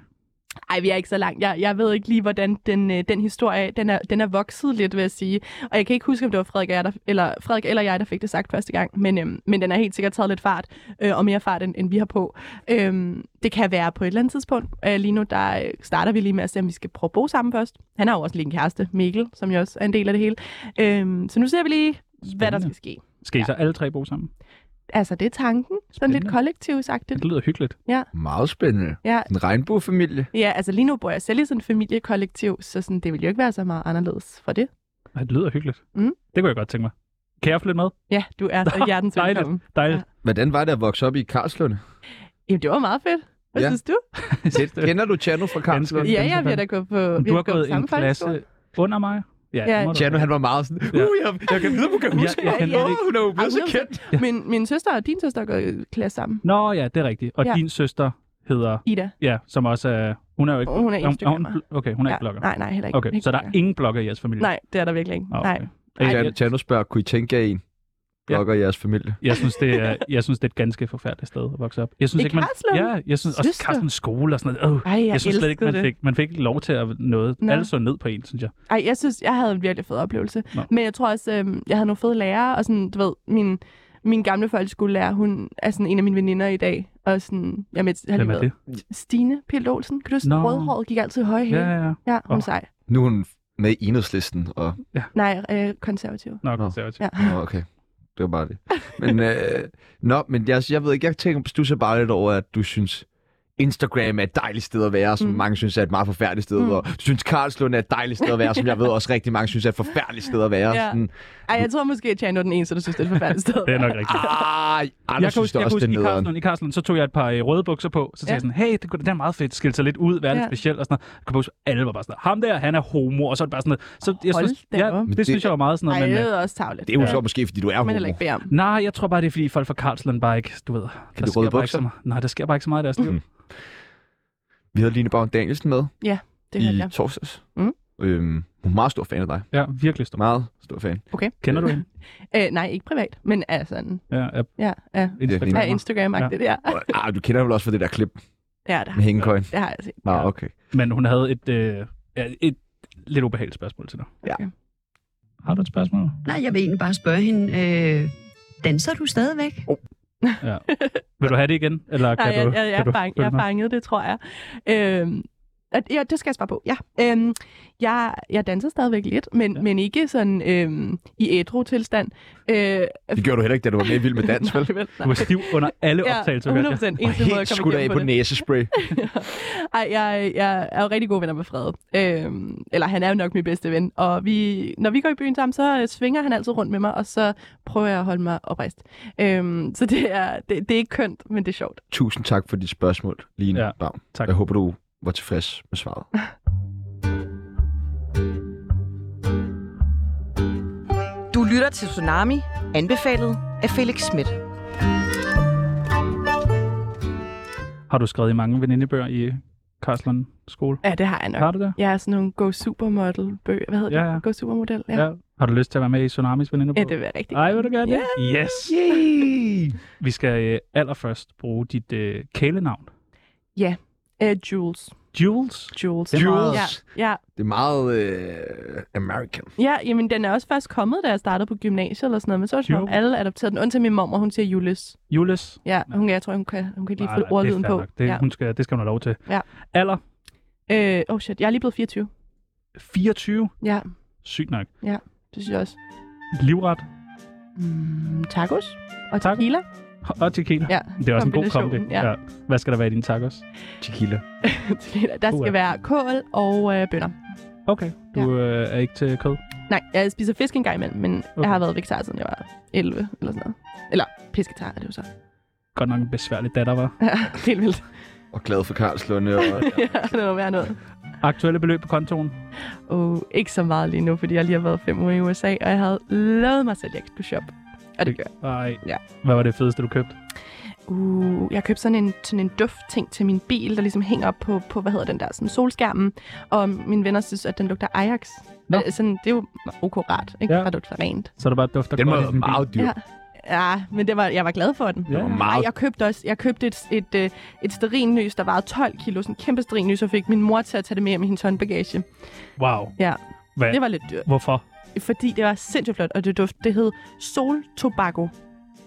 Speaker 3: Ej, vi er ikke så langt. Jeg, jeg ved ikke lige, hvordan den, øh, den historie, den er, den er vokset lidt, vil jeg sige. Og jeg kan ikke huske, om det var Frederik, og jeg, der, eller, Frederik eller jeg, der fik det sagt første gang. Men, øhm, men den er helt sikkert taget lidt fart, øh, og mere fart, end, end vi har på. Øhm, det kan være på et eller andet tidspunkt. Øh, lige nu der øh, starter vi lige med at se, om vi skal prøve at bo sammen først. Han har jo også lige en kæreste, Mikkel, som jo også er en del af det hele. Øhm, så nu ser vi lige, Spændende. hvad der
Speaker 4: Spændende.
Speaker 3: skal ske.
Speaker 4: Skal I så alle tre bo sammen?
Speaker 3: Altså, det er tanken. Sådan lidt
Speaker 4: Spændende.
Speaker 3: kollektivsagtigt.
Speaker 4: Det lyder hyggeligt.
Speaker 1: Meget spændende.
Speaker 3: Ja,
Speaker 1: En regnbuefamilie.
Speaker 3: Ja, altså lige nu bor jeg selv i sådan en familiekollektiv, så sådan, det ville jo ikke være så meget anderledes for det.
Speaker 4: Nej, det lyder hyggeligt.
Speaker 3: Mm.
Speaker 4: Det kunne jeg godt tænke mig. Kan jeg flytte med?
Speaker 3: Ja, du er så hjertens
Speaker 4: dejligt.
Speaker 3: velkommen.
Speaker 4: Dejligt.
Speaker 1: Hvordan var det at vokse op i Karlslunde?
Speaker 3: Jamen, det var meget fedt. Hvad
Speaker 1: Ja.
Speaker 3: ja. synes du?
Speaker 1: Tæt- Kender du Tjano fra Karlslunde?
Speaker 4: Ganske-
Speaker 3: Ja,
Speaker 4: så
Speaker 3: ja, vi har da gået på vi
Speaker 4: Du har
Speaker 3: gået på
Speaker 4: gået en
Speaker 3: samme folkeskole.
Speaker 4: klasse under mig.
Speaker 3: Ja.
Speaker 4: det må du.
Speaker 1: Tjano, han var meget sådan, uh,
Speaker 4: Ja.
Speaker 1: jeg, jeg kan vide, hun kan
Speaker 4: Ja,
Speaker 1: huske
Speaker 4: jeg
Speaker 1: mig.
Speaker 4: kender
Speaker 1: Åh,
Speaker 4: ikke-
Speaker 1: hun er jo blevet
Speaker 3: Ej,
Speaker 1: så
Speaker 3: hun er
Speaker 1: kendt.
Speaker 3: Min, min søster og din søster er gået i klasse sammen.
Speaker 4: Nå ja, det er rigtigt. Og
Speaker 3: Ja.
Speaker 4: din søster hedder,
Speaker 3: Ida.
Speaker 4: ja, som også er, hun er jo ikke...
Speaker 3: Hun er
Speaker 4: hun,
Speaker 3: Instagrammer.
Speaker 4: Okay, hun er ikke blogger.
Speaker 3: Nej, nej, heller ikke.
Speaker 4: Okay,
Speaker 3: Ikke
Speaker 4: så der er
Speaker 3: blogger.
Speaker 4: ingen blogger i jeres familie?
Speaker 3: Nej, det er der virkelig ikke.
Speaker 4: Nå,
Speaker 3: Nej.
Speaker 4: okay.
Speaker 3: Ej,
Speaker 1: Tjano-
Speaker 4: jeg-
Speaker 1: Tjano spørger, kunne I tænke jer en?
Speaker 4: Ja.
Speaker 1: Blokker i jeres familie.
Speaker 4: Jeg synes, det er, jeg synes, det er et ganske forfærdeligt sted at vokse op. Jeg synes
Speaker 3: I
Speaker 4: ikke, man,
Speaker 3: Karlslunde?
Speaker 4: Ja, jeg synes, også
Speaker 3: Synes du?
Speaker 4: Carstens skole og sådan noget. Øh,
Speaker 3: Ej, jeg,
Speaker 4: jeg, synes slet ikke,
Speaker 3: elskede
Speaker 4: man
Speaker 3: det.
Speaker 4: fik, man fik ikke lov til at noget.
Speaker 3: Nå.
Speaker 4: Alle så ned på en, synes jeg.
Speaker 3: Ej, jeg synes, jeg havde en virkelig fed oplevelse.
Speaker 4: Nå.
Speaker 3: Nå. Men jeg tror også, øhm, jeg havde nogle fede lærere, og sådan, du ved, min, min gamle folkeskolelærer, hun er sådan en af mine veninder i dag. Og sådan, jamen, jeg har lige
Speaker 4: Hvem er
Speaker 3: været-
Speaker 4: det?
Speaker 3: Stine Pilt Olsen, kan du huske,
Speaker 4: Nå.
Speaker 3: rødhåret gik altid i høje hæle?
Speaker 4: Ja,
Speaker 3: Ja,
Speaker 4: ja, ja.
Speaker 3: ja hun
Speaker 4: Åh.
Speaker 3: oh. sej.
Speaker 1: Nu er hun med i enhedslisten, og
Speaker 3: Nej, øh, konservativ.
Speaker 4: Nå,
Speaker 1: Nå.
Speaker 4: konservativ.
Speaker 3: Ja.
Speaker 1: Nå, okay. Det var bare det. Men, øh, nå, men jeg, jeg ved ikke, jeg tænker, du ser bare lidt over, at du synes, Instagram er et dejligt sted at være, som mm. mange synes er et meget forfærdeligt sted, mm. og synes Karlslund er et dejligt sted at være, som jeg ved også rigtig mange synes er et forfærdeligt sted at være.
Speaker 3: Ja.
Speaker 1: Ja. Sådan,
Speaker 3: Ej, jeg tror måske, at Tjano er den eneste, der synes, det er et forfærdeligt sted.
Speaker 4: Det er nok rigtigt.
Speaker 1: Ej, Anders
Speaker 4: jeg kan
Speaker 1: synes det
Speaker 4: huske, jeg kan
Speaker 1: også, det
Speaker 4: huske
Speaker 1: er nederen.
Speaker 4: i Karlslund, i Karlslund, så tog jeg et par øh, røde bukser på, så
Speaker 3: Ja.
Speaker 4: tænkte jeg sådan, hey, det, kunne- det er meget fedt, skilte sig lidt ud, være lidt
Speaker 3: Ja.
Speaker 4: speciel og sådan noget. Jeg kunne huske, alle var bare sådan, ham der, han er homo, og så er det bare sådan noget. Så jeg
Speaker 3: Hold
Speaker 4: synes,
Speaker 3: da
Speaker 4: ja,
Speaker 3: op.
Speaker 4: det,
Speaker 1: Men det-
Speaker 4: synes jeg var meget sådan
Speaker 3: Ej,
Speaker 4: noget, men...
Speaker 3: det
Speaker 4: øh,
Speaker 3: er også tavligt.
Speaker 1: Det er jo
Speaker 3: Ja.
Speaker 1: så måske, fordi du er
Speaker 3: Men
Speaker 1: homo.
Speaker 3: heller ikke bede om.
Speaker 4: Nej, jeg tror bare, det er fordi folk fra Karlsland bare ikke, du ved,
Speaker 1: de
Speaker 4: der
Speaker 1: røde
Speaker 4: sker bare ikke
Speaker 1: bukser?
Speaker 4: så meget. Nej, der sker bare ikke så meget i deres liv.
Speaker 1: Mhm. Vi havde Line Baum Danielsen med
Speaker 3: Det hørte
Speaker 1: i
Speaker 3: jeg.
Speaker 1: torsdags.
Speaker 3: Mm.
Speaker 1: Øhm, hun er meget stor fan af dig.
Speaker 4: Ja, virkelig stor.
Speaker 1: Meget stor fan.
Speaker 4: Kender du hende?
Speaker 3: Øh, nej, ikke privat, men af sådan,
Speaker 4: Ja, af
Speaker 3: ja,
Speaker 1: Ja.
Speaker 3: af, af
Speaker 4: Instagram.
Speaker 3: Instagram-agtigt, ja.
Speaker 1: Og, ah, du kender hende vel også fra det der klip
Speaker 3: Ja, det
Speaker 1: med
Speaker 3: har,
Speaker 1: hængekøjen.
Speaker 3: det har jeg set.
Speaker 1: Nå,
Speaker 4: Ja.
Speaker 1: okay.
Speaker 4: Men hun havde et, øh, ja, et lidt ubehageligt spørgsmål til dig.
Speaker 1: Ja.
Speaker 3: Okay.
Speaker 4: Har du et spørgsmål?
Speaker 6: Nej, jeg vil egentlig bare spørge hende, øh, danser du stadigvæk?
Speaker 4: Ja. Vil du have det igen? Eller kan
Speaker 3: Nej, jeg,
Speaker 4: du,
Speaker 3: jeg, jeg,
Speaker 4: kan
Speaker 3: er
Speaker 4: du
Speaker 3: bang, jeg
Speaker 4: følge
Speaker 3: er
Speaker 4: mig?
Speaker 3: fanget, det tror jeg. Øhm, at- ja, det skal jeg svare på, ja. Øhm, jeg, jeg danser stadigvæk lidt, men,
Speaker 4: Ja.
Speaker 3: ja. men ikke sådan øhm, i ædro-tilstand. Øh,
Speaker 1: Det gjorde du heller ikke, da du var med i Vild med Dans, vel?
Speaker 3: nej, vel,
Speaker 4: Du var
Speaker 3: nej.
Speaker 4: stiv under alle
Speaker 3: Ja,
Speaker 4: optagelser.
Speaker 3: 100%
Speaker 4: hørte jeg.
Speaker 3: eneste måde
Speaker 1: Og
Speaker 3: at komme
Speaker 1: helt skudt af
Speaker 3: igennem
Speaker 1: på
Speaker 3: på det.
Speaker 1: næsespray.
Speaker 3: Ej, jeg, jeg er jo rigtig gode venner med Frede. Øhm, eller han er jo nok min bedste ven. Og vi, når vi går i byen sammen, så øh, svinger han altid rundt med mig, og så prøver jeg at holde mig oprejst. Øhm, så det er, det, det er ikke kønt, men det er sjovt.
Speaker 1: Tusind tak for dit spørgsmål, Line
Speaker 4: Ja,
Speaker 1: ja, Baum.
Speaker 4: tak.
Speaker 1: Jeg håber, du var tilfreds med svaret.
Speaker 5: Du lytter til Tsunami, anbefalet af Felix Schmidt.
Speaker 4: Har du skrevet i mange venindebøger i Karlsland skole?
Speaker 3: Ja, det har jeg nok.
Speaker 4: Har du det?
Speaker 3: Jeg er sådan nogle Go Supermodel bøger. Hvad hedder
Speaker 4: Ja, ja.
Speaker 3: det? Go Supermodel, ja.
Speaker 4: Har du lyst til at være med i Tsunamis venindebog?
Speaker 3: Ja, det vil jeg rigtig
Speaker 4: Ej,
Speaker 3: gerne.
Speaker 4: vil du gøre det? Yeah. Yes!
Speaker 1: Yay!
Speaker 4: Vi skal øh, allerførst bruge dit øh, kælenavn.
Speaker 3: Øh, Jules.
Speaker 4: Jules.
Speaker 3: Jules.
Speaker 4: Det er meget-
Speaker 3: Ja,
Speaker 1: Jules.
Speaker 3: ja.
Speaker 1: Det er meget øh, American.
Speaker 3: ja, jamen den er også først kommet, da jeg startede på gymnasiet eller sådan noget, men så var det som om
Speaker 4: Jules.
Speaker 3: alle adopterede den. Undtagen min mormor, hun siger Jules.
Speaker 4: Jules.
Speaker 3: Ja, hun, jeg tror, hun kan, hun kan lige
Speaker 4: Nej,
Speaker 3: få
Speaker 4: nej, det er
Speaker 3: ordlyden
Speaker 4: fair
Speaker 3: på.
Speaker 4: nok. Det,
Speaker 3: ja.
Speaker 4: hun skal, det skal hun have lov til.
Speaker 3: Ja.
Speaker 4: Alder
Speaker 3: Øh, oh shit, jeg er lige blevet 24.
Speaker 4: 24.
Speaker 3: Ja,
Speaker 4: Sygt nok.
Speaker 3: det synes jeg også.
Speaker 4: Livret
Speaker 3: Mm, tacos og
Speaker 4: Tacos.
Speaker 3: tequila.
Speaker 4: og tequila.
Speaker 3: Ja,
Speaker 4: Det er også en god kombi.
Speaker 3: kombinationen, ja.
Speaker 4: Hvad skal der være i dine tacos?
Speaker 1: Tequila.
Speaker 3: tequila. Der
Speaker 4: Uha.
Speaker 3: skal være kål og øh, bønner.
Speaker 4: Okay. Du øh, er ikke til kød?
Speaker 3: Nej, jeg spiser fisk en gang imellem, men okay.
Speaker 4: Okay.
Speaker 3: jeg har været vegetar, siden jeg var 11 eller sådan noget. Eller pesketar er det jo så.
Speaker 4: Godt nok en besværlig datter, var.
Speaker 3: Ja, Helt vildt.
Speaker 1: Og glad for Karlslunde. Og,
Speaker 3: ja, det må være noget.
Speaker 4: Aktuelle beløb på kontoen?
Speaker 3: Oh, ikke så meget lige nu, fordi jeg lige har været fem uger i USA, og jeg havde lovet mig selv, at jeg skulle shoppe. Og det gør jeg.
Speaker 4: Nej.
Speaker 3: Ja.
Speaker 4: Hvad var det fedeste, du købte?
Speaker 3: Uh, jeg købte sådan en, sådan en duftting til min bil, der ligesom hænger op på, på hvad hedder den der, sådan solskærmen. Og mine venner synes, at den lugter Ajax.
Speaker 4: Nå.
Speaker 3: Øh, Sådan, det er jo ok rart, ikke?
Speaker 4: Ja.
Speaker 3: Ja. Der lugter rent.
Speaker 4: Så er der bare dufter
Speaker 1: den
Speaker 4: godt i
Speaker 1: var
Speaker 4: din bil.
Speaker 1: meget dyr.
Speaker 3: Ja. Ja, men det var, jeg var glad for den.
Speaker 4: Ja.
Speaker 1: Den var
Speaker 3: Ej,
Speaker 1: meget
Speaker 3: jeg købte også jeg købte et, et, et, et sterinlys, der vejede 12 kilo, sådan en kæmpe sterinlys, og fik min mor til at tage det med hjem i hendes håndbagage.
Speaker 4: Wow.
Speaker 3: Ja.
Speaker 4: Hvad?
Speaker 3: Det var lidt dyrt,
Speaker 4: Hvorfor?
Speaker 3: fordi det var sindssygt flot, og det duft, det hed Sol Tobacco.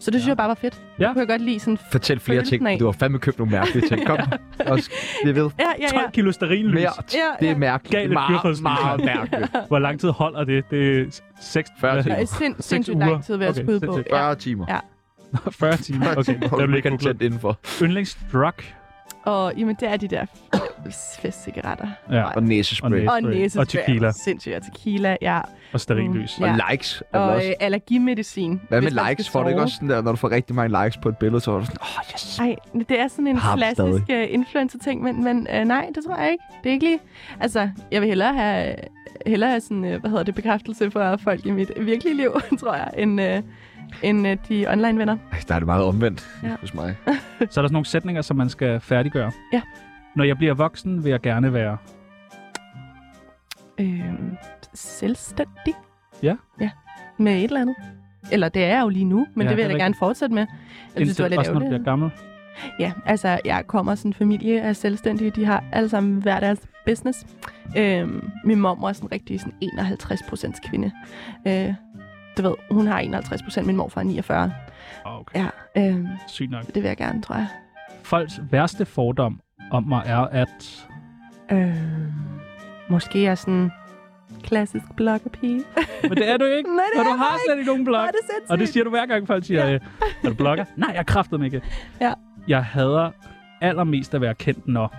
Speaker 3: Så det synes
Speaker 4: Ja.
Speaker 3: jeg bare var fedt.
Speaker 4: Ja.
Speaker 3: Det kunne jeg godt lide sådan...
Speaker 1: Fortæl flere
Speaker 3: Følelsen
Speaker 1: ting.
Speaker 3: af-
Speaker 1: Du har fandme købt nogle mærkelige ting. Kom, og det ved.
Speaker 3: Ja, ja,
Speaker 4: 12
Speaker 3: ja.
Speaker 4: kilo sterinlys.
Speaker 1: Mere.
Speaker 3: Ja,
Speaker 1: Det er
Speaker 3: ja.
Speaker 1: mærkeligt. Det
Speaker 4: Gale
Speaker 1: er meget,
Speaker 4: dyrholdsmæssigt.
Speaker 1: meget mærkeligt.
Speaker 4: Hvor lang tid holder det? Det er 6,
Speaker 1: Fyrre
Speaker 3: Det er
Speaker 1: timer.
Speaker 3: sind,
Speaker 4: Seks
Speaker 3: sindssygt
Speaker 4: uger.
Speaker 3: lang tid ved at
Speaker 4: Okay,
Speaker 3: skyde på.
Speaker 4: sindssygt.
Speaker 3: Ja.
Speaker 1: 40 timer.
Speaker 4: 40 timer. Okay,
Speaker 1: Hvor
Speaker 4: der
Speaker 1: du
Speaker 4: blev
Speaker 1: ikke
Speaker 4: ikke
Speaker 1: kan
Speaker 4: googlet.
Speaker 1: tænde indenfor.
Speaker 4: Yndlingsdrug.
Speaker 3: Og jamen, det er de der festcigaretter.
Speaker 4: Ja.
Speaker 1: Og næsespray.
Speaker 4: Og
Speaker 3: Og
Speaker 4: næsespray.
Speaker 3: næsespray.
Speaker 4: Og tequila.
Speaker 3: Sindssygt, og tequila, ja.
Speaker 4: Og sterinlys.
Speaker 1: Og
Speaker 3: Ja.
Speaker 1: likes. er vel
Speaker 3: Og
Speaker 1: også-
Speaker 3: øh, allergimedicin.
Speaker 1: Hvad med
Speaker 3: hvis man
Speaker 1: likes?
Speaker 3: skal
Speaker 1: Får du ikke
Speaker 3: sove.
Speaker 1: også sådan der, når du får rigtig mange likes på et billede, så er du sådan, åh, oh, yes.
Speaker 3: Ej, det er sådan en
Speaker 1: Har dem
Speaker 3: klassisk uh, influencer-ting, men, men uh, nej, det tror jeg ikke. Det er ikke lige... Altså, jeg vil hellere have, hellere have sådan, uh, hvad hedder det, bekræftelse fra folk i mit virkelige liv, tror jeg, end, uh, end uh, de online-venner.
Speaker 1: Ej, Der er det meget omvendt ja.
Speaker 3: Ja.
Speaker 1: hos mig.
Speaker 4: Så er der sådan nogle sætninger, som man skal færdiggøre.
Speaker 3: Ja.
Speaker 4: Når jeg bliver voksen, vil jeg gerne være...
Speaker 3: Øh, selvstændig.
Speaker 4: Ja.
Speaker 3: Ja, med et eller andet. Eller det er jeg jo lige nu, men
Speaker 4: Ja,
Speaker 3: ja, det vil
Speaker 4: det er
Speaker 3: jeg da gerne
Speaker 4: rigtigt.
Speaker 3: fortsætte med. Jeg synes, det var lidt
Speaker 4: også når du
Speaker 3: ærgerligt.
Speaker 4: bliver gammel.
Speaker 3: Ja, altså, jeg kommer af sådan en familie af selvstændige. De har alle sammen hver deres business. Øhm, min mor er sådan rigtig sådan 51 procents kvinde. Øh, du ved, hun har 51 procent, min morfar er 49.
Speaker 4: Åh, Okay,
Speaker 3: Ja, øhm,
Speaker 4: sygt nok.
Speaker 3: det vil jeg gerne, tror jeg.
Speaker 4: Folks værste fordom om mig er, at...
Speaker 3: Øhm, måske er jeg sådan klassisk bloggerpige.
Speaker 4: Men det er du ikke,
Speaker 3: Nej, det
Speaker 4: for
Speaker 3: er
Speaker 4: du
Speaker 3: jeg
Speaker 4: har
Speaker 3: bare
Speaker 4: slet ikke nogen blog.
Speaker 3: Hvor er det sindssygt.
Speaker 4: øh, Og det siger du hver gang, folk siger, ja. er du blogger? Nej, jeg kræfter mig ikke.
Speaker 3: Ja.
Speaker 4: Jeg hader allermest at være kendt, når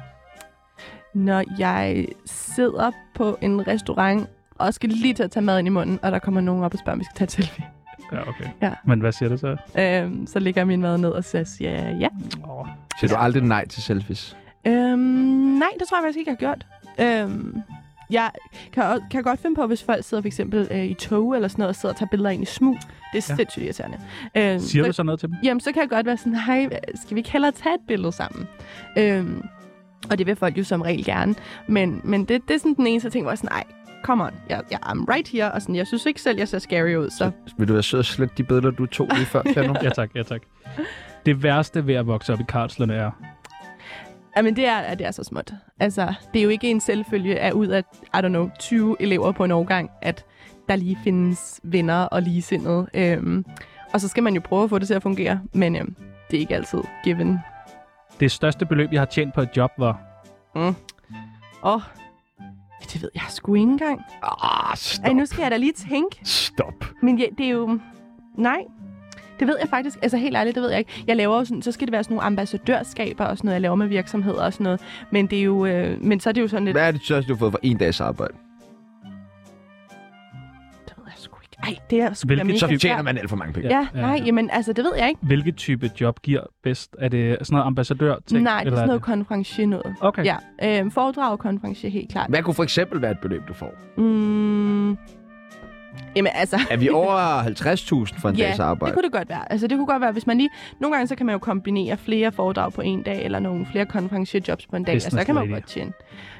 Speaker 3: Når jeg sidder på en restaurant og skal lige til at tage mad ind i munden, og der kommer nogen op og spørger, om vi skal tage et selfie.
Speaker 4: Ja, okay.
Speaker 3: Ja.
Speaker 4: Men hvad siger det så?
Speaker 3: Øhm, så lægger jeg min mad ned og siger, ja, ja.
Speaker 4: Oh,
Speaker 1: Siger du aldrig nej til selfies?
Speaker 3: Øhm, nej, det tror jeg faktisk ikke, jeg har gjort. Øhm, jeg kan, også- kan godt finde på, hvis folk sidder for eksempel øh, i tog eller sådan noget, og sidder og tager billeder ind i smug. Det er
Speaker 4: Ja.
Speaker 3: ja. sindssygt irriterende. Øhm,
Speaker 4: siger
Speaker 3: så,
Speaker 4: du så noget til dem?
Speaker 3: Jamen, så kan jeg godt være sådan, hej, skal vi ikke hellere tage et billede sammen? Øhm, og det vil folk jo som regel gerne. Men, men det, det er sådan den eneste ting, hvor jeg er sådan, nej, come on, jeg, jeg, I'm right here. Og sådan, jeg synes ikke selv, jeg ser scary ud, så...
Speaker 1: Vil du være sød og slet de billeder, du tog lige før, Kano?
Speaker 4: Ja tak, ja tak. Det værste ved at vokse op i Karlslund er...
Speaker 3: Jamen, det er, at det er så småt. Altså, det er jo ikke en selvfølge af ud af, I don't know, 20 elever på en årgang, at der lige findes venner og ligesindede. Øhm, og så skal man jo prøve at få det til at fungere, men øhm, det er ikke altid given. Åh,
Speaker 4: Det største beløb, jeg har tjent på et job, var...
Speaker 3: oh, det ved jeg sgu ikke engang.
Speaker 1: Ah,
Speaker 3: Ej,
Speaker 1: stop.
Speaker 3: nu skal jeg da lige tænke.
Speaker 1: Stop.
Speaker 3: Men ja, det er jo... Nej. Det ved jeg faktisk. Altså helt ærligt, det ved jeg ikke. Jeg laver jo sådan, så skal det være sådan nogle ambassadørskaber og sådan noget, jeg laver med virksomheder og sådan noget. Men det er jo, øh, men så er det jo sådan lidt...
Speaker 1: Hvad er det største, du har fået for en dags arbejde?
Speaker 3: Det ved jeg sgu ikke. Ej, det er sgu da
Speaker 4: Hvilket
Speaker 3: mega
Speaker 1: Så
Speaker 4: type-
Speaker 1: tjener man alt for mange penge.
Speaker 3: Ja, ja, nej, jamen altså, det ved jeg ikke.
Speaker 4: Hvilket type job giver bedst? Er det sådan noget ambassadør-ting?
Speaker 3: nej, det er
Speaker 4: eller
Speaker 3: sådan noget konferencier noget.
Speaker 4: Okay.
Speaker 3: Okay. Ja, øh, foredrag og konferencier, helt klart.
Speaker 1: Hvad kunne for eksempel være et beløb, du får?
Speaker 3: Mm, jamen altså,
Speaker 1: Er vi over 50.000 for en
Speaker 3: ja,
Speaker 1: dags arbejde?
Speaker 3: det kunne det godt være. Altså, det kunne godt være, hvis man lige... Nogle gange, så kan man jo kombinere flere foredrag på en dag, eller nogle flere konferencierjobs på en dag, og så
Speaker 4: Business
Speaker 3: kan man jo
Speaker 4: lady.
Speaker 3: godt tjene.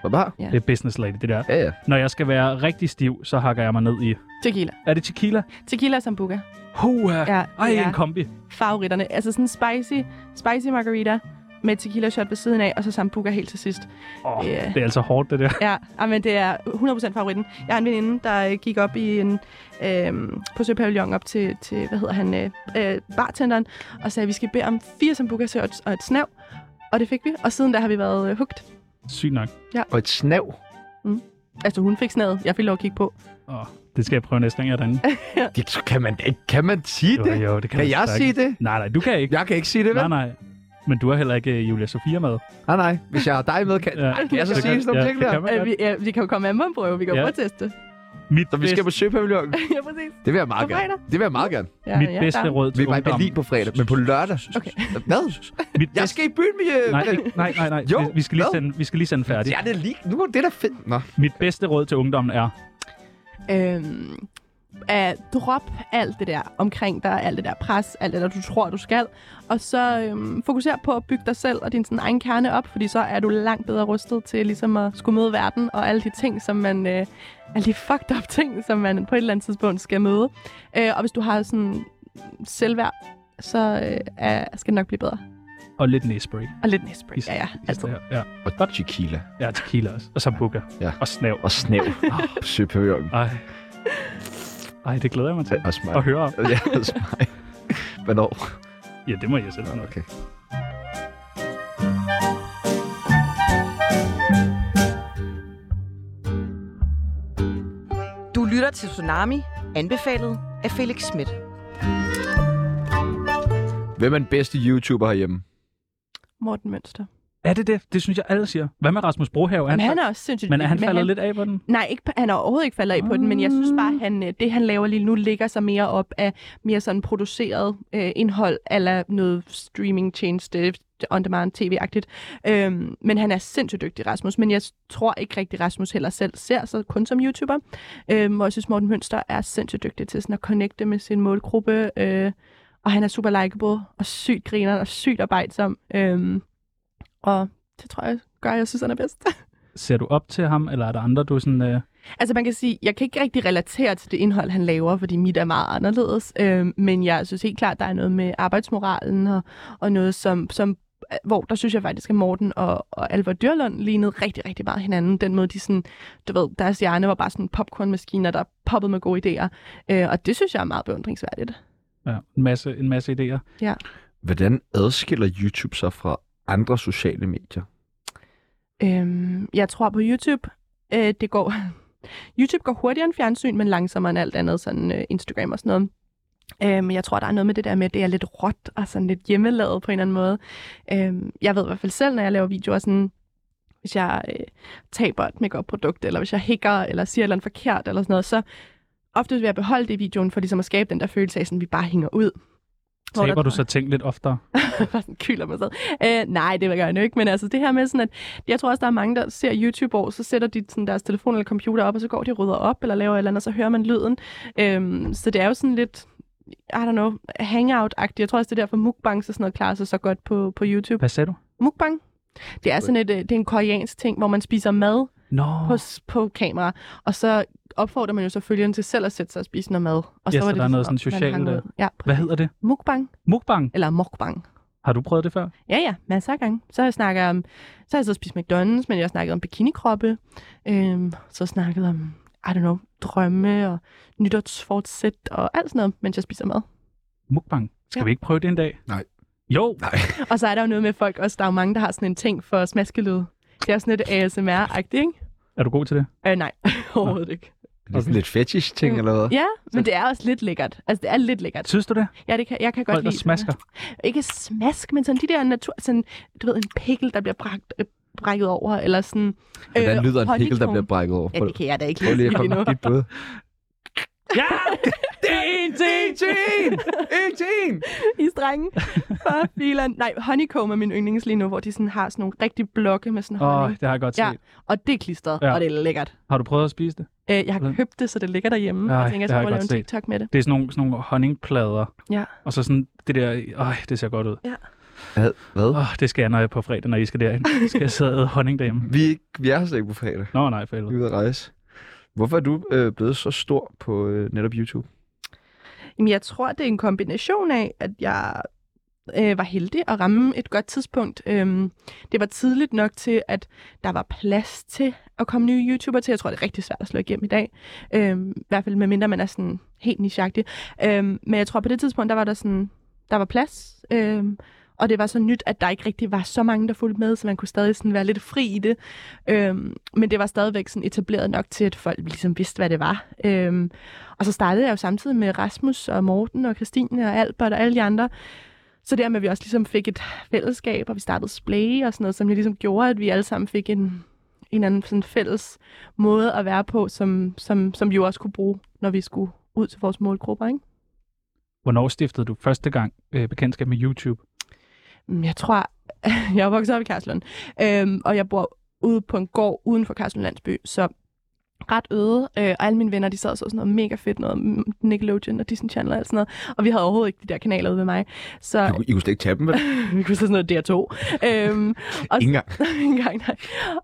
Speaker 1: Hvad bare?
Speaker 3: Ja.
Speaker 4: Det er business lady, det der.
Speaker 1: Ja, ja.
Speaker 4: Når jeg skal være rigtig stiv, så hakker jeg mig ned i...
Speaker 3: Tequila.
Speaker 4: Er det tequila?
Speaker 3: Tequila og sambuca.
Speaker 4: Hoa!
Speaker 3: Ja,
Speaker 4: Ej,
Speaker 3: det er
Speaker 4: en kombi.
Speaker 3: favoritterne. Altså sådan spicy, spicy margarita med tequila shot ved siden af, og så sambuca helt til sidst.
Speaker 4: Oh,
Speaker 3: Ja.
Speaker 4: Det er altså hårdt, det der.
Speaker 3: Ja, ej, men det er 100% favoritten. Jeg har en veninde, der øh, gik op i en, øh, på Søpavillon op til, til, hvad hedder han, øh, øh, bartenderen, og sagde, at vi skal bede om fire sambuca shots og et snav. Og det fik vi, og siden der har vi været øh, hugt.
Speaker 4: Sygt nok.
Speaker 1: Og et snav.
Speaker 3: Altså hun fik snavet, jeg fik lov at kigge på.
Speaker 4: Oh, det skal jeg prøve næste gang, jeg er derinde.
Speaker 1: Det kan man da ikke. Kan man sige det?
Speaker 4: jo, det
Speaker 1: Kan
Speaker 4: du
Speaker 1: jeg
Speaker 4: sagt.
Speaker 1: sige det?
Speaker 4: Nej, nej, du kan ikke.
Speaker 1: Jeg kan ikke sige det,
Speaker 4: Nej,
Speaker 1: vel?
Speaker 4: nej. Men du har heller ikke øh, Julia Sofia med.
Speaker 1: Nej, nej. Hvis jeg har dig med, kan,
Speaker 4: Ja.
Speaker 1: Ej, kan jeg så
Speaker 4: Det
Speaker 1: sige
Speaker 4: kan-
Speaker 1: sådan nogle
Speaker 4: ja,
Speaker 1: ting
Speaker 4: det
Speaker 1: der?
Speaker 4: kan man
Speaker 3: Øh,
Speaker 4: godt.
Speaker 3: vi, ja, vi kan jo komme med en prøve, vi kan
Speaker 4: Ja.
Speaker 3: jo prøve at teste.
Speaker 4: Mit,
Speaker 1: Så vi skal
Speaker 4: bedste,
Speaker 1: på søpavillonen.
Speaker 3: ja, præcis.
Speaker 1: Det vil jeg meget
Speaker 3: På
Speaker 1: gerne.
Speaker 3: fredag?
Speaker 1: Det vil jeg meget gerne.
Speaker 3: Ja,
Speaker 4: mit bedste
Speaker 3: der-
Speaker 4: råd
Speaker 1: Vi
Speaker 4: til
Speaker 1: var i
Speaker 4: ungdommen.
Speaker 1: Berlin på fredag, men på lørdag.
Speaker 3: Okay.
Speaker 1: Hvad?
Speaker 4: Mit
Speaker 1: Jeg skal i byen med... øh,
Speaker 4: Nej,
Speaker 1: med-
Speaker 4: ikke- nej, nej, nej.
Speaker 1: Jo,
Speaker 4: vi, vi, skal lige
Speaker 1: hvad?
Speaker 4: sende, vi skal lige sende færdig.
Speaker 1: Ja, det er lige... Nu er det da fedt. Nå.
Speaker 4: Mit bedste råd til ungdommen er,
Speaker 3: øhm, at drop alt det der omkring dig, alt det der pres, alt det der, du tror, du skal, og så øhm, fokuser på at bygge dig selv og din sådan, egen kerne op, fordi så er du langt bedre rustet til ligesom at skulle møde verden og alle de ting, som man... Øh, alle de fucked up ting, som man på et eller andet tidspunkt skal møde. Øh, og hvis du har sådan selvværd, så øh, er, skal det nok blive bedre.
Speaker 4: og lidt næsspray.
Speaker 3: Og lidt næsbry.
Speaker 4: Is-
Speaker 3: Ja, Altså, ja, altid.
Speaker 4: Ja,
Speaker 1: Og godt tequila.
Speaker 4: ja tequila også. Og sambuca.
Speaker 1: Ja.
Speaker 4: Og snav.
Speaker 1: Og snæv. Åh, på søpavillonen.
Speaker 4: Ej. Ej, det glæder jeg mig til.
Speaker 1: Og smag.
Speaker 4: At høre om.
Speaker 1: Ja, og smag. Hvornår?
Speaker 4: Ja, det må jeg selv nok.
Speaker 1: Okay.
Speaker 5: Du lytter til Tsunami, anbefalet af Felix Schmidt.
Speaker 1: Hvem er den bedste YouTuber herhjemme?
Speaker 3: Morten Mønster.
Speaker 4: Er det det? Det synes jeg alle siger. Hvad med Rasmus Brohave?
Speaker 3: Men han er også sindssygt
Speaker 4: men er han
Speaker 3: dygtig,
Speaker 4: faldet lidt af på den?
Speaker 3: Nej, ikke, han er overhovedet ikke faldet af på den, men jeg synes bare, at han, øh, det, han laver lige nu, ligger sig mere op af mere sådan produceret øh, indhold, eller noget streamingtjeneste, on-demand tv-agtigt. Øhm, men han er sindssygt dygtig, Rasmus. Men jeg s- tror ikke rigtig, Rasmus heller selv ser sig kun som YouTuber. Øhm, og jeg synes, Morten Mønster er sindssygt dygtig til sådan at connecte med sin målgruppe. Øh, og han er super likeable, og sygt griner, og sygt arbejdsom. Øhm, og det tror jeg gør, at jeg synes, han er bedst.
Speaker 4: Ser du op til ham, eller er der andre, du er sådan... Øh...
Speaker 3: Altså man kan sige, jeg kan ikke rigtig relatere til det indhold, han laver, fordi mit er meget anderledes. Øh, men jeg synes helt klart, der er noget med arbejdsmoralen og, og noget, som, som, øh, hvor der synes jeg faktisk, at Morten og, og Alvar Dyrlund lignede rigtig, rigtig meget hinanden. Den måde, de sådan, du ved, deres hjerne var bare sådan popcornmaskiner, der poppede med gode idéer. Øh, og det synes jeg er meget beundringsværdigt.
Speaker 4: Ja, en masse, en masse idéer.
Speaker 1: Hvordan adskiller YouTube sig fra andre sociale medier?
Speaker 3: Øhm, jeg tror på YouTube. Øh, det går... YouTube går hurtigere end fjernsyn, men langsommere end alt andet, sådan øh, Instagram og sådan noget. Øhm, jeg tror, der er noget med det der med, at det er lidt råt og sådan lidt hjemmelavet på en eller anden måde. Øhm, jeg ved i hvert fald selv, når jeg laver videoer, sådan, hvis jeg øh, taber et makeup produkt eller hvis jeg hækker, eller siger et eller andet forkert, eller sådan noget, så ofte vil jeg beholde det i videoen, for ligesom at skabe den der følelse af, sådan, at vi bare hænger ud. Hvor der
Speaker 4: Taber du
Speaker 3: tror-
Speaker 4: så ting lidt oftere?
Speaker 3: bare sådan kyler mig selv. Øh, nej, det gør jeg nu ikke, men altså det her med sådan, at jeg tror også, der er mange, der ser YouTube over, så sætter de sådan deres telefon eller computer op, og så går de og rydder op eller laver et eller andet, og så hører man lyden. Øhm, så det er jo sådan lidt, I don't know, hangout-agtigt. Jeg tror også, det er derfor mukbangs og sådan noget klarer sig så godt på, på YouTube.
Speaker 4: Hvad sagde du?
Speaker 3: Mukbang? Det er sådan et, øh, det er en koreansk ting, hvor man spiser mad
Speaker 4: Nå,
Speaker 3: på, s- på kamera, og så opfordrer man jo så følgeren til selv at sætte sig og spise noget mad. Og
Speaker 4: Ja, så der er
Speaker 3: ligesom
Speaker 4: noget sådan
Speaker 3: om, man
Speaker 4: socialt,
Speaker 3: hang ud.
Speaker 4: øh,
Speaker 3: Ja,
Speaker 4: hvad hedder det?
Speaker 3: mukbang
Speaker 4: Mukbang.
Speaker 3: eller mukbang.
Speaker 4: Har du prøvet det før?
Speaker 3: Ja, ja, masser af gange. Så har jeg snakket om, så har jeg så spist McDonald's, men jeg har snakket om bikinikroppe. Øhm, så snakket om, I don't know, drømme og nytårsfortsæt og alt sådan noget, mens jeg spiser mad.
Speaker 4: Mukbang. Skal
Speaker 3: Ja.
Speaker 4: vi ikke prøve det en dag?
Speaker 1: Nej.
Speaker 4: Jo,
Speaker 1: Nej.
Speaker 3: Og så er der jo noget med folk også, der er jo mange, der har sådan en ting for smaskelyd. Det er jo sådan lidt ASMR-agtigt, ikke?
Speaker 4: er du god til det?
Speaker 3: Øh, nej, overhovedet ikke.
Speaker 1: Lidt, okay. lidt fetish ting
Speaker 3: Mm.
Speaker 1: eller hvad?
Speaker 3: Ja, men det er også lidt lækkert. Altså, det er lidt lækkert.
Speaker 4: Synes du det?
Speaker 3: Ja, det kan, jeg kan godt
Speaker 4: Folk, der
Speaker 3: lide.
Speaker 4: smasker.
Speaker 3: Ikke smask, men sådan de der natur... Sådan, du ved, en pikkel, der bliver bragt, øh, brækket over, eller sådan... øh,
Speaker 1: Hvordan lyder en pikkel, der
Speaker 3: honeycomb.
Speaker 1: bliver brækket over?
Speaker 3: Ja, det kan jeg da ikke
Speaker 1: Prøv
Speaker 3: lige
Speaker 1: lige at
Speaker 3: sige lige
Speaker 1: komme
Speaker 3: nu.
Speaker 1: med dit bud.
Speaker 4: Ja! Det er en ting!
Speaker 1: En til en! En til en!
Speaker 3: I strenge. For filan. Nej, honeycomb er min yndlings lige nu, hvor de sådan har sådan nogle rigtig blokke med sådan
Speaker 4: Åh,
Speaker 3: honning.
Speaker 4: det har jeg godt
Speaker 3: Ja.
Speaker 4: set.
Speaker 3: Og det er klistret,
Speaker 4: Ja.
Speaker 3: ja. og det er lækkert.
Speaker 4: Har du prøvet at spise det?
Speaker 3: Øh, jeg har
Speaker 4: Hvordan?
Speaker 3: købt det, så det ligger derhjemme.
Speaker 4: Ej,
Speaker 3: jeg tænker, jeg
Speaker 4: det har
Speaker 3: skal
Speaker 4: jeg
Speaker 3: prøve at lave en
Speaker 4: godt set.
Speaker 3: TikTok med det.
Speaker 4: Det er sådan nogle, sådan nogle honningplader.
Speaker 3: Ja.
Speaker 4: Og så sådan det der... Øj, det ser godt ud.
Speaker 1: Hvad? Hvad?
Speaker 4: Åh, det skal jeg, når jeg er på fredag, når I skal derind. Så skal jeg sidde og æde honning derhjemme.
Speaker 1: Vi, er ikke, vi er slet ikke på fredag.
Speaker 4: Nå, nej, for
Speaker 1: Vi er
Speaker 4: helvede.
Speaker 1: ude at rejse. Hvorfor er du øh, blevet så stor på øh, netop YouTube?
Speaker 3: Jamen, jeg tror, det er en kombination af, at jeg øh, var heldig at ramme et godt tidspunkt. Øhm, det var tidligt nok til, at der var plads til at komme nye YouTubere til. Jeg tror, det er rigtig svært at slå igennem i dag. Øhm, I hvert fald, medmindre man er sådan helt nicheagtig. Øhm, men jeg tror, på det tidspunkt, der var der sådan, der var plads. Øhm, og det var så nyt, at der ikke rigtig var så mange, der fulgte med, så man kunne stadig sådan være lidt fri i det. Øhm, men det var stadigvæk sådan etableret nok til, at folk ligesom vidste, hvad det var. Øhm, og så startede jeg jo samtidig med Rasmus og Morten og Christine og Albert og alle de andre. Så dermed vi også ligesom fik et fællesskab, og vi startede Splay og sådan noget, som jo ligesom gjorde, at vi alle sammen fik en, en anden sådan fælles måde at være på, som, som, som vi jo også kunne bruge, når vi skulle ud til vores målgrupper. Ikke?
Speaker 4: Hvornår stiftede du første gang øh, bekendtskab med YouTube?
Speaker 3: Mm, Jeg tror, jeg er vokset op i Karlslund, øhm, og jeg bor ude på en gård uden for Karlslund Landsby, så ret øde, øh, og alle mine venner, de sad og så sådan noget mega fedt, noget mm, Nickelodeon og Disney Channel og alt sådan noget, og vi havde overhovedet ikke de der kanaler ude ved mig, så
Speaker 1: I kunne slet ikke tage dem, vel?
Speaker 3: vi kunne så sådan noget DR2. øhm, og
Speaker 1: Ingen gang.
Speaker 3: en gang, nej.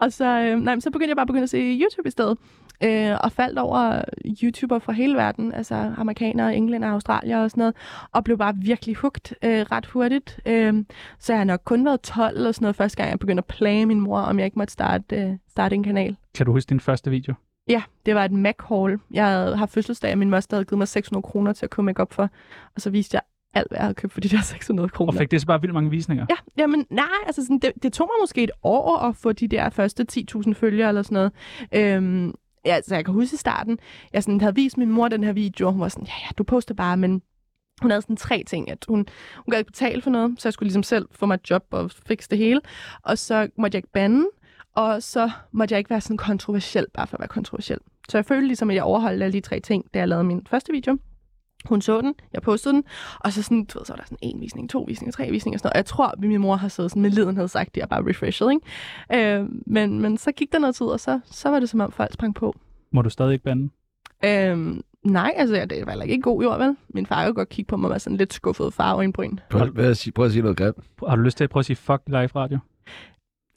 Speaker 3: Og så, øh, nej, men så begyndte jeg bare at begynde at se YouTube i stedet. Øh, og faldt over YouTuber fra hele verden, altså amerikanere, englænder, australier og sådan noget, og blev bare virkelig hugt øh, ret hurtigt. Øh, så jeg har nok kun været 12 eller sådan noget, første gang jeg begyndte at plage min mor, om jeg ikke måtte starte, øh, starte en kanal.
Speaker 4: Kan du huske din første video?
Speaker 3: Ja, det var et Mac-haul. Jeg havde haft fødselsdag, og min moster havde givet mig 600 kroner til at købe make for, og så viste jeg alt, hvad jeg havde købt for de der 600
Speaker 4: Og
Speaker 3: kroner.
Speaker 4: fik det så bare vildt mange visninger?
Speaker 3: Ja, jamen nej, altså sådan, det, det tog mig måske et år at få de der første 10.000 følgere eller sådan noget. Øhm, ja, altså jeg kan huske i starten, jeg sådan havde vist min mor den her video, og hun var sådan, ja, ja, du poster bare, men hun havde sådan tre ting, at hun, hun gad ikke betale for noget, så jeg skulle ligesom selv få mig et job og fikse det hele, og så måtte jeg ikke bande, og så måtte jeg ikke være sådan kontroversiel, bare for at være kontroversiel. Så jeg følte ligesom, at jeg overholdt alle de tre ting, da jeg lavede min første video. Hun så den, jeg postede den, og så, sådan, du ved, så var der sådan en visning, to visninger, tre visninger og sådan noget. Og jeg tror, at min mor har siddet sådan med liden havde sagt, det er bare refreshed, ikke? Øh, men, men så gik der noget tid, og så, så var det som om folk sprang på.
Speaker 4: Må du stadig ikke bande?
Speaker 3: Øh, nej, altså jeg- det var heller ikke en god jord, vel? Min far kunne godt kigge på mig med sådan lidt skuffet farveøjenbryn.
Speaker 1: Prøv, prøv, at sige, prøv at sige noget grimt.
Speaker 4: Har du lyst til at prøve at sige fuck i live radio?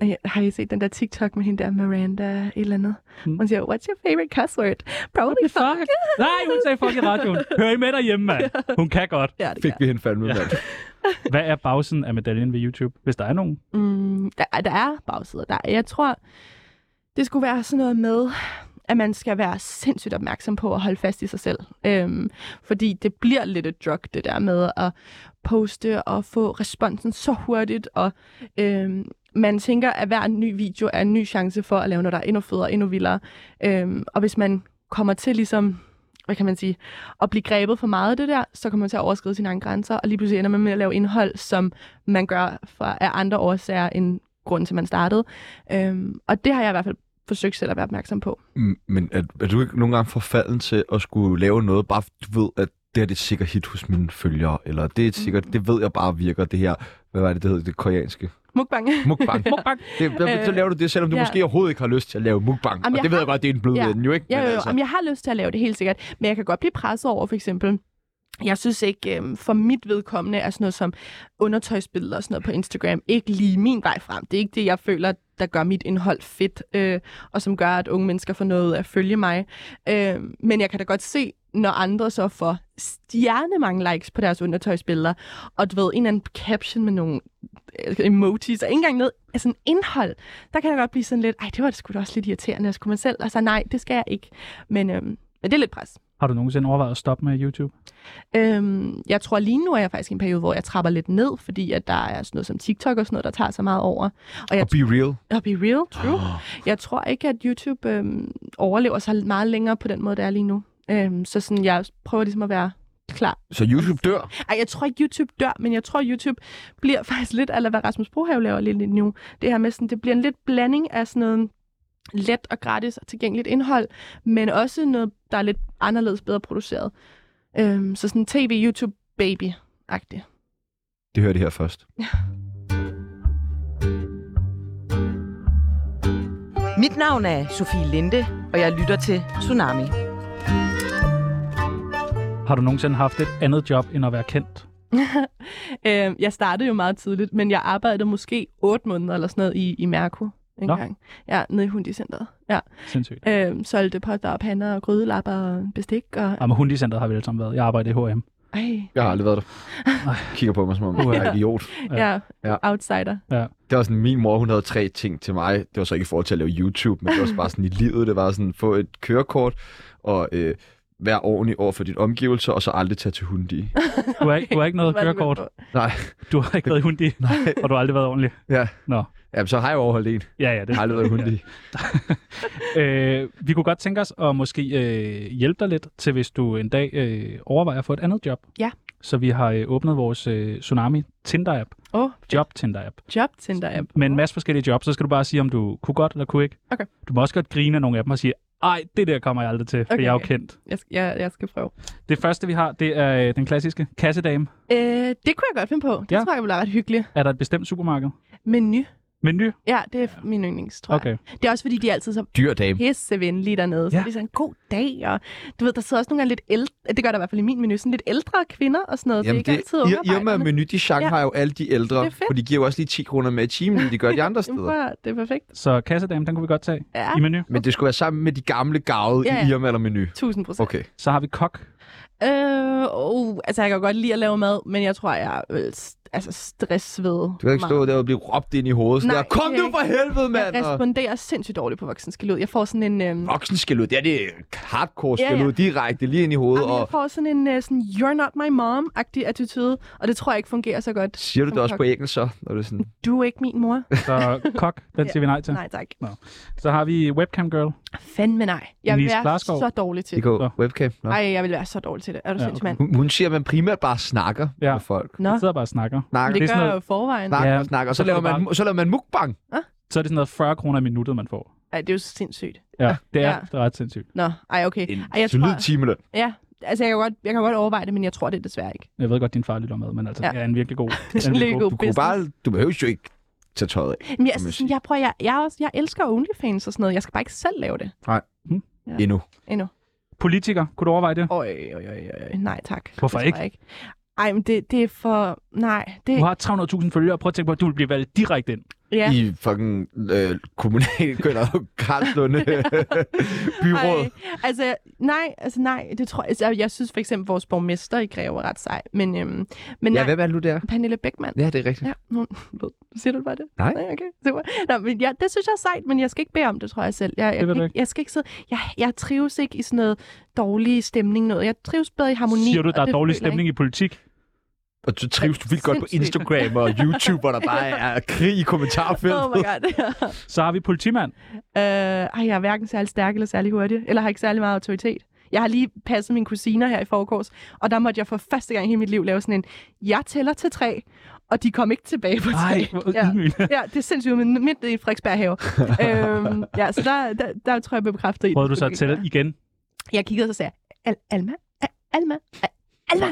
Speaker 3: Øh, Har I set den der TikTok med hende der Miranda et eller andet?
Speaker 4: Mm.
Speaker 3: Hun siger, what's your favorite cuss word? Probably fuck.
Speaker 4: Nej, hun sagde fuck i radioen. Hør I med derhjemme, mand. Hun kan godt.
Speaker 3: Ja, det
Speaker 1: Fik
Speaker 3: gør.
Speaker 1: vi hende fandme, mand.
Speaker 4: Hvad er bagsiden af medaljen ved YouTube, hvis der er nogen?
Speaker 3: Mm, der, der er bagsider. Der, jeg tror, det skulle være sådan noget med, at man skal være sindssygt opmærksom på at holde fast i sig selv. Øhm, fordi det bliver lidt et drug, det der med at poste og få responsen så hurtigt. Og øhm, man tænker, at hver ny video er en ny chance for at lave noget, der er endnu federe, endnu vildere. Øhm, og hvis man kommer til ligesom hvad kan man sige, at blive grebet for meget af det der, så kommer man til at overskride sine egne grænser, og lige pludselig ender man med at lave indhold, som man gør for, af andre årsager end grunden til, at man startede. Øhm, og det har jeg i hvert fald forsøgt selv at være opmærksom på.
Speaker 1: Mm, Men er, er du ikke nogle gange forfalden til at skulle lave noget, bare fordi du ved, at det her det er et sikkert hit hos mine følgere, eller det er et sikkert, det ved jeg bare virker, det her, hvad var det, det hed, det koreanske?
Speaker 3: Mukbang.
Speaker 1: Mukbang.
Speaker 4: Mukbang.
Speaker 1: det, der, så
Speaker 3: Øh,
Speaker 1: laver du det, selvom du
Speaker 3: ja.
Speaker 1: måske overhovedet ikke har lyst til at lave mukbang.
Speaker 3: Jamen,
Speaker 1: og
Speaker 3: jeg
Speaker 1: det ved
Speaker 3: har-
Speaker 1: jeg godt, det er en blød
Speaker 3: Ja.
Speaker 1: ja. jo ikke?
Speaker 3: Ja, jo,
Speaker 1: men altså,
Speaker 3: jo. Jamen, jeg har lyst til at lave det helt sikkert, men jeg kan godt blive presset over, for eksempel, jeg synes ikke, øhm, for mit vedkommende, er sådan noget som undertøjsbilleder og sådan noget på Instagram ikke lige min vej frem. Det er ikke det, jeg føler, der gør mit indhold fedt, øh, og som gør, at unge mennesker får noget ud af at følge mig. Øh, men jeg kan da godt se, når andre så får stjernemange likes på deres undertøjsbilleder, og du ved, en eller anden caption med nogle øh, emojis, og ikke engang noget altså en indhold, der kan jeg godt blive sådan lidt, ej, det var da sgu da også lidt irriterende, og skulle man selv, altså nej, det skal jeg ikke. Men, øhm, men det er lidt pres.
Speaker 4: Har du nogensinde overvejet at stoppe med YouTube?
Speaker 3: Øhm, jeg tror lige nu er jeg faktisk i en periode, hvor jeg trapper lidt ned, fordi at der er sådan noget som TikTok og sådan noget, der tager så meget over. Og jeg
Speaker 1: Og be real.
Speaker 3: og be real, true. Jeg tror ikke, at YouTube øhm, overlever så meget længere på den måde, det er lige nu. Øhm, så sådan, jeg prøver ligesom at være klar.
Speaker 1: Så YouTube dør.
Speaker 3: Ej, jeg tror ikke, YouTube dør, men jeg tror, YouTube bliver faktisk lidt, eller hvad Rasmus Brohave laver lidt nu, det her med sådan, det bliver en lidt blanding af sådan noget let og gratis og tilgængeligt indhold, men også noget, der er lidt anderledes bedre produceret. Øhm, så sådan tv-YouTube-baby-agtigt.
Speaker 1: Det hører det her først.
Speaker 5: Mit navn er Sofie Linde, og jeg lytter til Tsunami.
Speaker 4: Har du nogensinde haft et andet job, end at være kendt?
Speaker 3: Øh, jeg startede jo meget tidligt, men jeg arbejdede måske 8 måneder eller sådan noget i, i Mærko en
Speaker 4: Nå.
Speaker 3: gang. Ja, nede i hundicenteret. Ja.
Speaker 4: Sindssygt.
Speaker 3: Øh, solgte potter og pander og grydelapper og bestik. Og...
Speaker 4: Og med hundicenteret har vi alle sammen været. Jeg arbejder i H&M.
Speaker 3: Ej,
Speaker 1: Jeg har aldrig været der. Kigger på mig som om, jeg er en idiot.
Speaker 3: ja.
Speaker 1: Ja.
Speaker 3: ja. outsider.
Speaker 1: Det var sådan, min mor, hun havde tre ting til mig. Det var så ikke i forhold til at lave YouTube, men det var så bare sådan i livet. Det var sådan, få et kørekort og øh, være ordentlig over for dit omgivelser, og så aldrig tage til hundi.
Speaker 4: Du har ikke, du har ikke noget
Speaker 3: Hvad er det,
Speaker 4: kørekort.
Speaker 3: man får?
Speaker 1: Nej,
Speaker 4: Du har ikke været i hundi. Og du har aldrig været ordentlig.
Speaker 1: ja.
Speaker 4: Nå.
Speaker 1: Jamen, så har jeg jo overholdt en.
Speaker 4: Ja, ja, det
Speaker 1: Jeg har aldrig været hundi.
Speaker 4: øh, vi kunne godt tænke os at måske øh, hjælpe dig lidt til, hvis du en dag øh, overvejer at få et andet job.
Speaker 3: Ja.
Speaker 4: Så vi har øh, åbnet vores øh, Tsunami Tinder-app,
Speaker 3: Åh, oh,
Speaker 4: Job Tinder-app,
Speaker 3: job Tinder-app.
Speaker 4: med en masse forskellige jobs. Så skal du bare sige, om du kunne godt eller kunne ikke.
Speaker 3: Okay.
Speaker 4: Du må også godt grine af nogle af dem og sige, ej, det der kommer jeg aldrig til, for
Speaker 3: Okay,
Speaker 4: jeg er jo
Speaker 3: okay.
Speaker 4: kendt.
Speaker 3: Jeg, sk- jeg, jeg skal prøve.
Speaker 4: Det første, vi har, det er øh, den klassiske kassedame.
Speaker 3: Øh, det kunne jeg godt finde på. Det
Speaker 4: Ja.
Speaker 3: ja. tror jeg ville være ret hyggeligt.
Speaker 4: Er der et bestemt supermarked?
Speaker 3: Menu.
Speaker 4: Menu?
Speaker 3: Ja, det er min yndlings, tror
Speaker 4: Okay.
Speaker 3: jeg. Det er også fordi, de er altid så
Speaker 1: Dyr dame.
Speaker 3: pissevenlige dernede. Så
Speaker 4: Ja.
Speaker 3: ja. det er sådan en god dag, og du ved, der sidder også nogle gange lidt ældre, det gør der i hvert fald i min menu, sådan lidt ældre kvinder og sådan noget.
Speaker 1: Jamen,
Speaker 3: det er ikke altid
Speaker 1: det, Irma og
Speaker 3: ungarbejderne.
Speaker 1: Menu, de genre
Speaker 3: Ja.
Speaker 1: har jo alle de ældre,
Speaker 3: Det er fedt.
Speaker 1: for de giver jo også lige 10 kroner med i timen, end de gør de andre steder.
Speaker 3: Jamen, prøv at høre, det er perfekt.
Speaker 4: Så kassedame, den kunne vi godt tage
Speaker 3: Ja,
Speaker 4: i menu.
Speaker 1: Men det skulle være sammen med de gamle gavede
Speaker 3: Ja,
Speaker 1: ja,
Speaker 3: ja.
Speaker 1: i Irma eller Menu.
Speaker 3: 1000 procent.
Speaker 1: Okay.
Speaker 4: Så har vi kok.
Speaker 3: Øh, oh, altså, jeg kan godt lide at lave mad, men jeg tror, jeg er øh, st- altså, stress ved
Speaker 1: Du kan ikke stå
Speaker 3: meget.
Speaker 1: der og blive råbt ind i hovedet. Sådan
Speaker 3: Nej,
Speaker 1: der, kom
Speaker 3: det
Speaker 1: nu
Speaker 3: er
Speaker 1: for helvede, mand!
Speaker 3: Jeg
Speaker 1: og-
Speaker 3: responderer sindssygt dårligt på voksenskilud. Jeg får sådan en... Øhm,
Speaker 1: Voksen skal ud. Det er det hardcore skal
Speaker 3: Ja, ja.
Speaker 1: ud direkte lige ind i hovedet.
Speaker 3: Jamen, jeg
Speaker 1: og
Speaker 3: får sådan en øh, sådan, you're not my mom-agtig attitude, og det tror jeg ikke fungerer så godt.
Speaker 1: siger du det
Speaker 3: som
Speaker 1: også
Speaker 3: kok.
Speaker 1: på engelsk så? Når det er sådan,
Speaker 3: Du er ikke min mor.
Speaker 4: Så kok, den siger vi nej til.
Speaker 3: Nej, tak.
Speaker 4: Så har vi webcam girl.
Speaker 3: Fanden med nej. Jeg vil
Speaker 4: Denise
Speaker 3: være
Speaker 4: Klarskov.
Speaker 3: så dårlig til
Speaker 1: det
Speaker 3: det.
Speaker 1: går
Speaker 4: Nå.
Speaker 1: webcam. Nå.
Speaker 3: Ej, jeg vil være så dårlig til det. Er du
Speaker 4: Ja,
Speaker 3: ja, sindssygt, mand?
Speaker 1: Hun, hun siger, at man primært bare snakker
Speaker 4: Ja.
Speaker 1: ja. med folk.
Speaker 3: Nå,
Speaker 4: Jeg sidder bare og snakker.
Speaker 1: Snakker,
Speaker 3: men
Speaker 4: det er
Speaker 3: det
Speaker 4: sådan
Speaker 3: gør jeg
Speaker 4: noget-
Speaker 3: jo i forvejen.
Speaker 1: snakker,
Speaker 4: Ja,
Speaker 1: ja, snakker. Og
Speaker 4: så
Speaker 1: så, laver
Speaker 4: kan det
Speaker 1: man, så laver man mukbang.
Speaker 4: Så er det sådan noget 40 kroner i minuttet, man får.
Speaker 3: Ej, det er jo sindssygt.
Speaker 4: Ja, det er
Speaker 3: Ja.
Speaker 4: ja. ret sindssygt.
Speaker 3: Nå, ej, okay.
Speaker 1: En
Speaker 3: Ej, jeg
Speaker 1: solid
Speaker 3: tror-
Speaker 1: timeløn.
Speaker 3: Ja, altså, jeg kan, godt, jeg kan godt overveje det, men jeg tror det desværre ikke.
Speaker 4: Jeg ved godt, din far lytter med, men altså, ja.
Speaker 3: Ja.
Speaker 4: det er en virkelig god...
Speaker 3: Det er en virkelig god
Speaker 1: Du, kunne
Speaker 3: business.
Speaker 1: bare, du behøver jo ikke tage tøjet af
Speaker 3: Men jeg,
Speaker 1: kan man
Speaker 3: altså,
Speaker 1: sige.
Speaker 3: sådan, jeg, prøver, jeg, jeg, er også, jeg elsker OnlyFans og sådan noget. Jeg skal bare ikke selv lave det. Ja.
Speaker 1: endnu.
Speaker 3: Endnu.
Speaker 4: Politiker, kunne du overveje det?
Speaker 3: Øj, øj, øj, øj. Øh, Nej, tak. Det
Speaker 4: Hvorfor
Speaker 3: tror
Speaker 4: ikke?
Speaker 3: jeg ikke? Ej, men det, det er for... Nej, det...
Speaker 4: Du har 300.000 følgere, prøv at tænke på, at du vil blive valgt direkte ind.
Speaker 3: Ja.
Speaker 1: I fucking øh, kommunal eller Karlslunde byråd.
Speaker 3: Ej, altså, nej, altså nej, det tror jeg. Altså, jeg synes for eksempel, vores borgmester i Greve er ret sej, men, øhm, men
Speaker 1: Ja,
Speaker 3: nej,
Speaker 1: hvem er det nu, der?
Speaker 3: Pernille Beckmann.
Speaker 1: Ja, det er rigtigt.
Speaker 3: Ja, hun ved. Siger du det bare det?
Speaker 1: Nej.
Speaker 3: Nej, okay. Super. Nå, men ja, det synes jeg er sejt, men jeg skal ikke bede om det, tror jeg selv. Jeg, jeg,
Speaker 4: Det vil
Speaker 3: kan
Speaker 4: du
Speaker 3: ikke. jeg skal ikke sidde... Jeg, jeg trives ikke i sådan noget dårlig stemning noget. Jeg trives bedre i harmoni.
Speaker 4: Siger du,
Speaker 3: og
Speaker 4: der er
Speaker 3: det
Speaker 4: dårlig
Speaker 3: føler jeg
Speaker 4: stemning i politik?
Speaker 1: Og du trives du vildt godt på
Speaker 3: Sindssygt.
Speaker 1: Instagram og YouTube, hvor der bare er krig i
Speaker 3: ikke.
Speaker 1: kommentarfeltet.
Speaker 3: Oh my god.
Speaker 4: Så har vi politimand.
Speaker 3: øh, ej, jeg er hverken særlig stærk eller særlig hurtig, eller har ikke særlig meget autoritet. Jeg har lige passet mine kusiner her i forgårs, og der måtte jeg for første gang i hele mit liv lave sådan en, jeg tæller til tre, og de kom ikke tilbage på tre.
Speaker 4: Nej, hvor
Speaker 3: ja.
Speaker 4: ydmygende.
Speaker 3: ja, det er sindssygt, men midt i Frederiksberg have. øhm, ja, så der, der, der, tror jeg, jeg blev bekræftet i.
Speaker 4: Prøvede du så at
Speaker 3: at
Speaker 4: tælle igen?
Speaker 3: Jeg kiggede, og så sagde jeg, Al- Alma, Al- Alma, Al- Alma.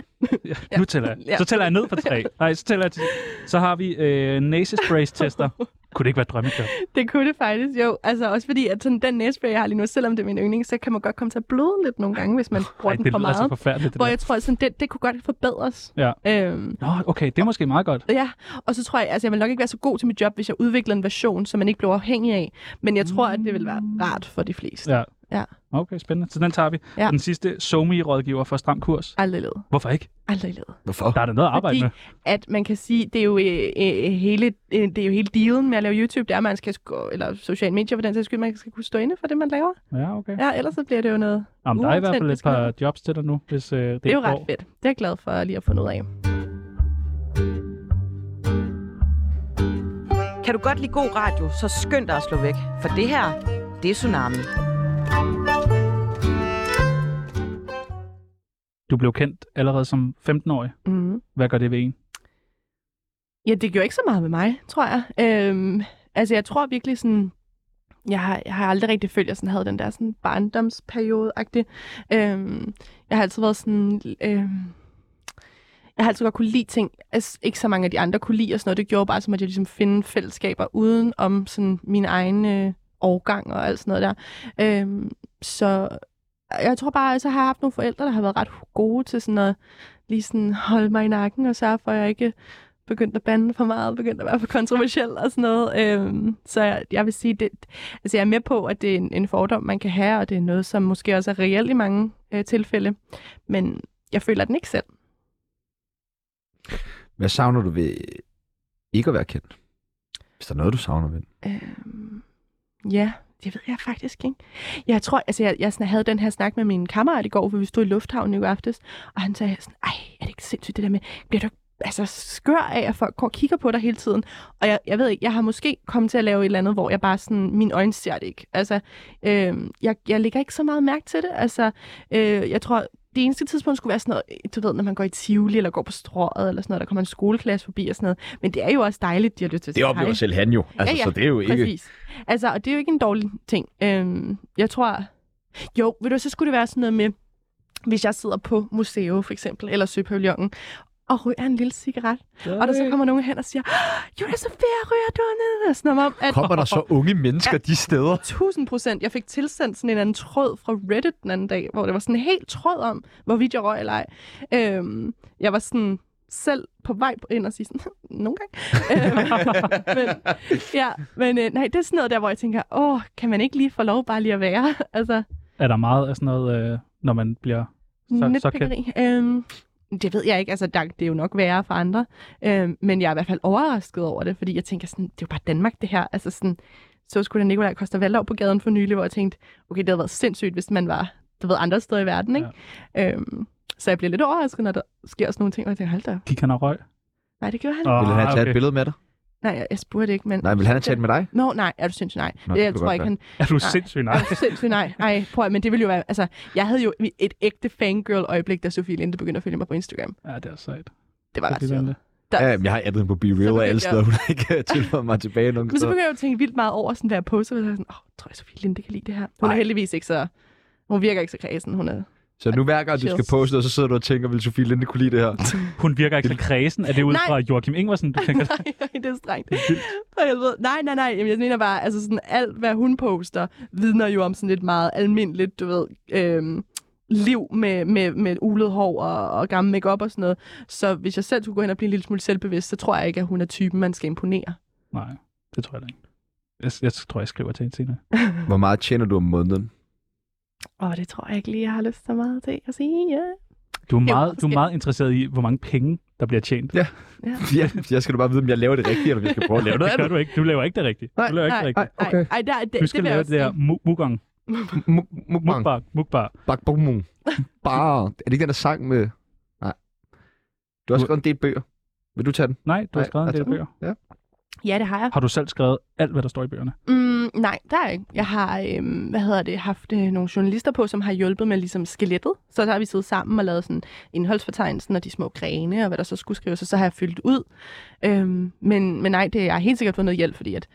Speaker 4: Ja. Nu tæller jeg.
Speaker 3: Ja.
Speaker 4: Så tæller jeg ned for tre. Nej, så tæller jeg til... Så har vi øh, nasesprays-tester. Kunne det ikke være et drømmejob?
Speaker 3: Det kunne det faktisk, jo. Altså også fordi, at sådan den næsebær, jeg har lige nu, selvom det er min yndling, så kan man godt komme til at bløde lidt nogle gange, hvis man bruger
Speaker 4: Ej,
Speaker 3: Ej, den
Speaker 4: det
Speaker 3: for
Speaker 4: lyder altså
Speaker 3: meget.
Speaker 4: så forfærdeligt, det
Speaker 3: hvor
Speaker 4: der.
Speaker 3: jeg tror, at sådan, det, det kunne godt forbedres.
Speaker 4: Ja.
Speaker 3: Øhm,
Speaker 4: Nå, okay, det er måske meget godt.
Speaker 3: ja, og så tror jeg, altså jeg vil nok ikke være så god til mit job, hvis jeg udvikler en version, som man ikke bliver afhængig af. Men jeg tror, at det vil være rart for de fleste.
Speaker 4: Mm. Ja.
Speaker 3: Ja.
Speaker 4: Okay, spændende. Så den tager vi.
Speaker 3: Ja.
Speaker 4: Den sidste SoMe-rådgiver for Stram Kurs.
Speaker 3: Aldrig led.
Speaker 4: Hvorfor ikke?
Speaker 3: Aldrig led.
Speaker 1: Hvorfor?
Speaker 4: Der er da noget at arbejde
Speaker 3: Fordi
Speaker 4: med.
Speaker 3: at man kan sige, det er jo, øh, øh, hele, øh, det er jo hele dealen med at lave YouTube, det er, at man skal, sku- eller sociale medier for den sags skyld, man skal kunne stå inde for det, man laver.
Speaker 4: Ja, okay.
Speaker 3: Ja, ellers så bliver det jo noget
Speaker 4: Jamen, der er i hvert fald et
Speaker 3: uautentisk noget.
Speaker 4: par jobs til dig nu, hvis øh, det,
Speaker 3: Det er jo
Speaker 4: ikke går.
Speaker 3: ret fedt. Det er jeg glad for lige at få noget af.
Speaker 5: Kan du godt lide god radio, så skynd dig at slå væk. For det her, det er Tsunami.
Speaker 4: Du blev kendt allerede som 15-årig.
Speaker 3: Mm.
Speaker 4: Hvad gør det ved en?
Speaker 3: Ja, det gjorde ikke så meget med mig, tror jeg. Øhm, altså, jeg tror virkelig sådan... Jeg har, jeg har aldrig rigtig følt, at jeg sådan havde den der sådan barndomsperiode-agtig. Øhm, jeg har altid været sådan... Øhm, jeg har altid godt kunne lide ting, altså, ikke så mange af de andre kunne lide og sådan noget. Det gjorde bare, som at jeg ligesom finde fællesskaber uden om sådan min egen øh, årgang og alt sådan noget der. Øhm, så jeg tror bare, at så har jeg haft nogle forældre, der har været ret gode til sådan at lige sådan holde mig i nakken og sørge for, at jeg ikke begyndt at bande for meget, begyndt at være for kontroversiel og sådan noget. Øhm, så jeg, jeg vil sige, det, altså jeg er med på, at det er en, en fordom, man kan have, og det er noget, som måske også er reelt i mange øh, tilfælde. Men jeg føler den ikke selv.
Speaker 1: Hvad savner du ved ikke at være kendt? Hvis der er noget, du savner ved.
Speaker 3: Øhm, ja, det ved jeg faktisk ikke. Jeg tror, altså jeg, jeg sådan havde den her snak med min kammerat i går, for vi stod i lufthavnen i går aftes, og han sagde sådan, ej, er det ikke sindssygt det der med, bliver du ikke altså skør af, at folk går og kigger på dig hele tiden. Og jeg, jeg ved ikke, jeg har måske kommet til at lave et eller andet, hvor jeg bare sådan, min øjne ser det ikke. Altså, øh, jeg, jeg lægger ikke så meget mærke til det. Altså, øh, jeg tror, det eneste tidspunkt skulle være sådan noget, du ved, når man går i Tivoli, eller går på strået, eller sådan noget, der kommer en skoleklasse forbi og sådan noget. Men det er jo også dejligt, de har lyst til at
Speaker 1: Det
Speaker 3: sige
Speaker 1: oplever
Speaker 3: hej.
Speaker 1: selv han jo. Altså,
Speaker 3: Ja, ja,
Speaker 1: Så det er jo ikke...
Speaker 3: Præcis. Altså, og det er jo ikke en dårlig ting. Øhm, jeg tror... Jo, ved du, så skulle det være sådan noget med, hvis jeg sidder på museet for eksempel, eller Søpavillonen, og ryger en lille cigaret, og
Speaker 4: Øh.
Speaker 3: der så kommer nogen hen og siger, "Ah, Jonas Sofia, ryger du ned? Sådan om, at
Speaker 1: Kommer der så unge mennesker de steder?
Speaker 3: 1000 procent. Jeg fik tilsendt sådan en anden tråd fra Reddit den anden dag, hvor det var sådan en helt tråd om, hvorvidt jeg røg eller ej. Øhm, jeg var sådan selv på vej ind og sige sådan, nogle gange. Øhm, men, ja, men øh, nej, det er sådan noget der, hvor jeg tænker, åh, kan man ikke lige få lov bare lige at være? altså,
Speaker 4: Er der meget af sådan noget, øh, når man bliver så, så kendt?
Speaker 3: netpikkeri. Øhm, det ved jeg ikke, altså der, det er jo nok værre for andre, øhm, men jeg er i hvert fald overrasket over det, fordi jeg tænker sådan, det er jo bare Danmark det her, altså sådan, så skulle der Nikolaj Koster Valdov på gaden for nylig, hvor jeg tænkte, okay, det havde været sindssygt, hvis man var, du ved, andre steder i verden, ikke? Ja. Øhm, så jeg bliver lidt overrasket, når der sker sådan nogle ting, og jeg tænker, hold da, op.
Speaker 4: Gik han og røg?
Speaker 3: nej, det gjorde han. Oh.
Speaker 4: Åh,
Speaker 1: Vil han have taget et
Speaker 4: okay.
Speaker 1: billede med dig?
Speaker 3: Nej, jeg, jeg spurgte ikke, men...
Speaker 1: Nej, vil han have taget med dig?
Speaker 3: Nå, nej, er du sindssyg? Nej,
Speaker 1: Nå,
Speaker 3: Nå,
Speaker 1: det
Speaker 3: jeg
Speaker 1: kunne
Speaker 3: tror
Speaker 1: godt
Speaker 3: ikke,
Speaker 1: være.
Speaker 3: han...
Speaker 4: Er du sindssyg? Nej.
Speaker 3: Er du sindssyg? Nej, nej, prøv at, men det ville jo være... Altså, jeg havde jo et ægte fangirl-øjeblik, da Sofie Linde begyndte at følge mig på Instagram.
Speaker 4: Ja, det er sejt.
Speaker 3: Det var ret
Speaker 4: Det er
Speaker 3: sjovt.
Speaker 4: det.
Speaker 1: Ja, jamen, jeg har addet på Be Real og alle
Speaker 3: begyndte jeg-
Speaker 1: steder, hun ikke øh, tilføjet mig tilbage nogen
Speaker 3: Men så
Speaker 1: steder.
Speaker 3: begynder jeg jo at tænke vildt meget over, sådan, hvad jeg poster, og så er jeg sådan, åh, oh, tror jeg, Sofie Linde kan lide det her. Hun
Speaker 1: Ej.
Speaker 3: er heldigvis ikke så... Hun virker ikke så kredsen, hun er...
Speaker 1: Så nu hver gang, du skal
Speaker 3: Chills.
Speaker 1: poste, noget, så sidder du og tænker, vil Sofie Linde kunne lide det her?
Speaker 4: Hun virker ikke så kredsen. Er det ud
Speaker 3: Nej.
Speaker 4: fra Joachim Ingvarsen, du tænker?
Speaker 3: nej, nej, det er strengt.
Speaker 4: Det er vildt.
Speaker 3: For helvede. Nej, nej, nej. Jamen, jeg mener bare, altså sådan alt, hvad hun poster, vidner jo om sådan et meget almindeligt, du ved, øhm, liv med, med, med ulet hår og, og gammel makeup og sådan noget. Så hvis jeg selv skulle gå hen og blive en lille smule selvbevidst, så tror jeg ikke, at hun er typen, man skal imponere.
Speaker 4: Nej, det tror jeg da ikke. Jeg, jeg tror, jeg skriver til hende senere.
Speaker 1: Hvor meget tjener du om måneden?
Speaker 3: Og det tror jeg ikke lige, jeg har lyst så meget til at sige. Ja.
Speaker 4: Du er, meget, du er
Speaker 3: forskelligt.
Speaker 4: meget interesseret i, hvor mange penge, der bliver tjent.
Speaker 1: Ja, Ja, jeg skal du bare vide, om jeg laver det rigtigt, eller om jeg skal prøve at lave
Speaker 4: det
Speaker 1: noget
Speaker 4: gør
Speaker 1: andet.
Speaker 4: du ikke. Du laver ikke det rigtigt.
Speaker 1: Nej,
Speaker 4: du laver ikke det rigtigt.
Speaker 3: Ej,
Speaker 1: Okay.
Speaker 3: ej, der, det,
Speaker 4: Du skal
Speaker 3: det vil jeg
Speaker 4: lave det
Speaker 3: også
Speaker 4: der
Speaker 3: sige.
Speaker 4: mu- mugong.
Speaker 1: Muk- Mukbang.
Speaker 4: Mukbar. Mukbar.
Speaker 1: Bakbomung. Bare. Er det ikke den der sang med... Nej. Du har
Speaker 4: Du-
Speaker 1: skrevet en del bøger. Vil du tage den?
Speaker 4: Nej, du har
Speaker 1: Nej,
Speaker 4: skrevet en
Speaker 1: altså-
Speaker 4: del bøger.
Speaker 1: Ja.
Speaker 3: Ja, det har jeg.
Speaker 4: Har du selv skrevet alt, hvad der står i bøgerne?
Speaker 3: Mm, nej, der er ikke. Jeg har, øhm, hvad hedder det, haft øh, nogle journalister på, som har hjulpet med ligesom skelettet. Så der har vi siddet sammen og lavet sådan indholdsfortegnelsen og de små grene og hvad der så skulle skrives, og så har jeg fyldt ud. Øhm, men, men nej, det, jeg har helt sikkert fået noget hjælp, fordi at,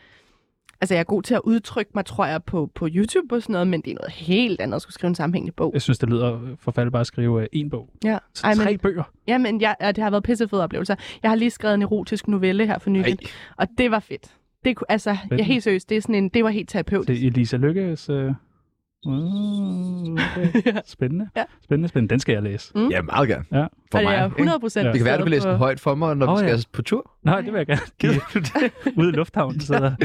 Speaker 3: altså, jeg er god til at udtrykke mig, tror jeg, på, på YouTube og sådan noget, men det er noget helt andet at skulle skrive en sammenhængende bog.
Speaker 4: Jeg synes, det lyder forfærdeligt bare at skrive en bog.
Speaker 3: Ja,
Speaker 4: Øh, Så
Speaker 3: Ej,
Speaker 4: tre
Speaker 3: men,
Speaker 4: bøger.
Speaker 3: ja, men jeg, og det har været pissefede oplevelser. Jeg har lige skrevet en erotisk novelle her for nylig,
Speaker 1: Nej,
Speaker 3: og det var fedt. Det, kunne- altså, jeg er helt seriøst, det, er sådan en, det var helt terapeutisk.
Speaker 4: Det er Elisa Lykkes... Øh... Mm, okay. Spændende.
Speaker 3: Ja.
Speaker 4: Spændende, spændende. Den skal jeg læse.
Speaker 1: ja, meget gerne.
Speaker 4: Ja.
Speaker 1: For mig.
Speaker 3: og det Altså, er
Speaker 1: ikke?
Speaker 3: 100 procent
Speaker 4: Ja.
Speaker 1: Det kan være, du vil læse den højt for mig, når oh,
Speaker 4: Åh,
Speaker 1: vi
Speaker 4: ja.
Speaker 1: skal på tur.
Speaker 4: Nej, det vil jeg gerne.
Speaker 1: Gider du det?
Speaker 4: Ude i lufthavnen sidder og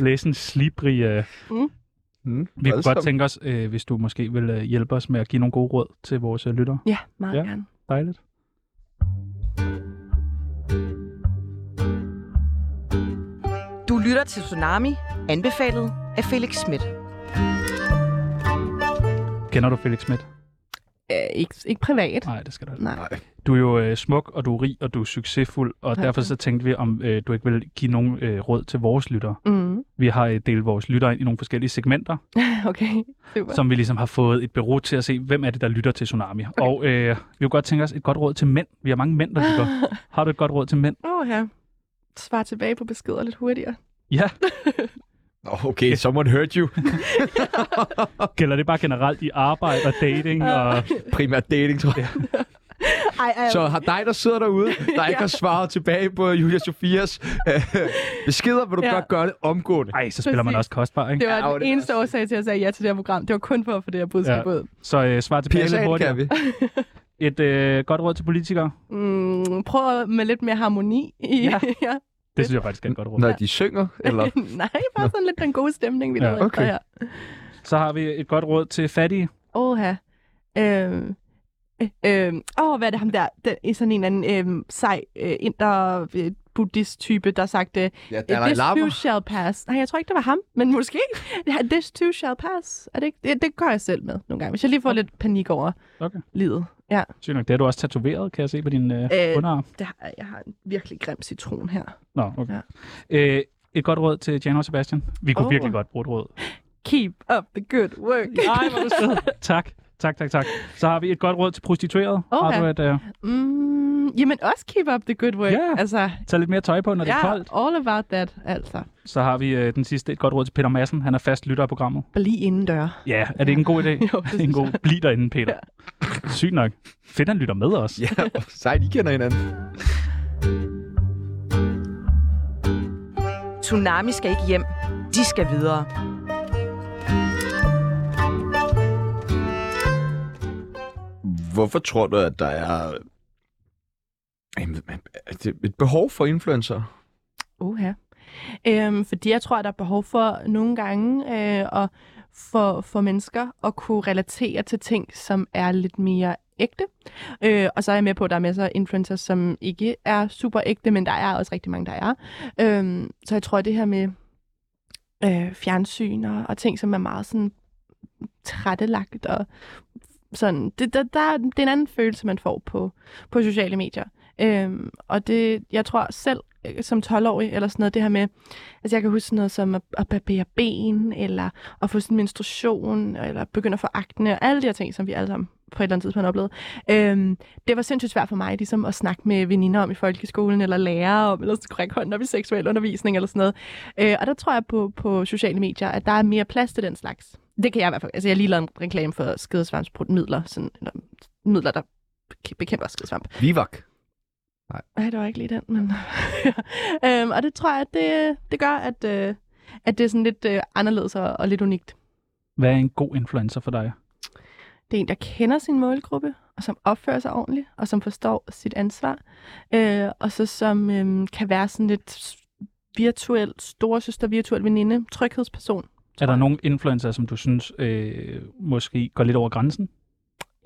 Speaker 4: læse en slibrig... Øh...
Speaker 1: Mm,
Speaker 4: Vi kunne godt tænke os, øh, hvis du måske vil øh, hjælpe os med at give nogle gode råd til vores øh, lyttere.
Speaker 3: Ja, meget
Speaker 4: Ja.
Speaker 3: ja. gerne.
Speaker 4: Dejligt.
Speaker 5: Du lytter til Tsunami, anbefalet af Felix Schmidt.
Speaker 4: Kender du Felix Schmidt?
Speaker 3: Æ, ikke, ikke privat.
Speaker 4: Nej, det skal du ikke.
Speaker 3: Nej.
Speaker 4: Du er jo øh, smuk, og du er rig, og du er succesfuld, og
Speaker 3: Tak.
Speaker 4: derfor så tænkte vi, om øh, du ikke vil give nogle øh, råd til vores lyttere.
Speaker 3: Mm,
Speaker 4: Vi har øh, delt vores lyttere ind i nogle forskellige segmenter,
Speaker 3: okay, super.
Speaker 4: som vi ligesom har fået et bureau til at se, hvem er det, der lytter til Tsunami. Okay. Og øh, vi kunne godt tænke os et godt råd til mænd. Vi har mange mænd, der lytter. Har du et godt råd til mænd?
Speaker 3: Åh, ja. Svar tilbage på beskeder lidt hurtigere.
Speaker 4: Ja,
Speaker 1: Oh, okay, someone hurt you.
Speaker 4: gælder det bare generelt i arbejde og dating? Og...
Speaker 1: Primært dating, tror jeg.
Speaker 3: Ej, ej,
Speaker 1: Så har dig, der sidder derude, der ikke har svaret tilbage på Julia Sofias øh, beskeder, vil du
Speaker 3: Ja.
Speaker 1: godt gøre det omgående.
Speaker 4: Ej, så spiller man
Speaker 3: Præcis.
Speaker 4: også kostbar, ikke?
Speaker 3: det var
Speaker 1: Ja,
Speaker 3: den
Speaker 1: det er
Speaker 3: eneste
Speaker 1: også-
Speaker 3: årsag til, at jeg sagde ja til det her program. Det var kun for at få det her budskab
Speaker 4: Ja.
Speaker 3: ud.
Speaker 4: Så øh, svar tilbage lidt
Speaker 1: PSA'en
Speaker 4: hurtigere.
Speaker 1: kan vi.
Speaker 4: Et øh, godt råd til politikere.
Speaker 3: Mm, prøv med lidt mere harmoni. I,
Speaker 4: Ja.
Speaker 3: ja. ja.
Speaker 4: Det synes jeg faktisk er et godt råd.
Speaker 1: Når de synger, eller...
Speaker 3: Nej, bare sådan lidt den gode stemning, vi
Speaker 4: Ja.
Speaker 3: ja. lavede
Speaker 1: Okay.
Speaker 3: her.
Speaker 4: Så har vi et godt råd til fattige.
Speaker 3: Åh, ja. Øhm, øh, øhm, åh, hvad er det ham der? Den, er sådan en eller anden øhm, sej øh, inder øh, buddhist-type, der øh, sagde,
Speaker 1: Ja,
Speaker 3: This too shall pass. Nej, jeg tror ikke, det var ham, men måske. Ja, This too shall pass. Er det, ikke? Det, det gør jeg selv med nogle gange, hvis jeg lige får lidt panik over
Speaker 4: Okay.
Speaker 3: livet. Ja,
Speaker 4: Sygt nok, det er du også tatoveret, kan jeg se på din øh, øh.
Speaker 3: Øh.
Speaker 4: underarm.
Speaker 3: det har, jeg har en virkelig grim citron her.
Speaker 4: Nå, okay.
Speaker 3: Ja.
Speaker 4: Øh, et godt råd til Jan og Sebastian. Vi kunne oh.
Speaker 3: Åh.
Speaker 4: virkelig godt bruge et råd.
Speaker 3: Keep up the good work.
Speaker 4: Nej, hvor er du sød. tak. Tak, tak, tak. Så har vi et godt råd til prostituerede.
Speaker 3: Åh,
Speaker 4: Har
Speaker 3: ja.
Speaker 4: du et, øh,
Speaker 3: Mm, jamen, også keep up the good work.
Speaker 4: Ja.
Speaker 3: Altså,
Speaker 4: tag lidt mere tøj på, når det er
Speaker 3: ja,
Speaker 4: koldt.
Speaker 3: all about that, altså.
Speaker 4: Så har vi øh, den sidste, et godt råd til Peter Madsen. Han er fast lytter af programmet.
Speaker 3: Bare lige indendør.
Speaker 4: Ja, er det ikke en god idé?
Speaker 3: Jo, det
Speaker 4: det er en
Speaker 3: synes
Speaker 4: god. Bliv derinde, Peter. Ja. Sygt nok. Fedt, han lytter med os.
Speaker 1: Ja, sejt, I kender hinanden.
Speaker 5: Tsunami skal ikke hjem. De skal videre.
Speaker 1: Hvorfor tror du, at der er Jamen, er det et behov for influencer?
Speaker 3: Oha. Øhm, fordi jeg tror, at der er behov for nogle gange øh, at for, for mennesker at kunne relatere til ting, som er lidt mere ægte. Øh, og så er jeg med på, at der er masser af influencers, som ikke er super ægte, men der er også rigtig mange, der er. Øhm, så jeg tror, at det her med øh, fjernsyn og, og ting, som er meget sådan trættelagt og sådan, det, der, der, det er en anden følelse, man får på, på sociale medier. Øhm, og det, jeg tror selv øh, som 12-årig eller sådan noget, det her med, altså jeg kan huske sådan noget som at, at barbere ben, eller at få sådan menstruation, eller begynde at få akne, og alle de her ting, som vi alle sammen på et eller andet tidspunkt oplevede. Øhm, det var sindssygt svært for mig ligesom at snakke med veninder om i folkeskolen, eller lærere om, eller skulle række hånden op i seksuel undervisning, eller sådan noget. Øh, og der tror jeg på, på sociale medier, at der er mere plads til den slags. Det kan jeg i hvert fald. Altså jeg har lige lavet en reklame for skidesvampsmidler, sådan, eller midler, der bekæmper skidesvamp.
Speaker 1: Vivak.
Speaker 3: Nej, det var ikke lige den, men... øhm, og det tror jeg, at det, det gør, at, øh, at det er sådan lidt øh, anderledes og, og lidt unikt.
Speaker 4: Hvad er en god influencer for dig?
Speaker 3: Det er en, der kender sin målgruppe, og som opfører sig ordentligt, og som forstår sit ansvar, øh, og så som øh, kan være sådan lidt s- virtuel storesøster, virtuel veninde, tryghedsperson.
Speaker 4: Er der nogen influencer, som du synes øh, måske går lidt over grænsen?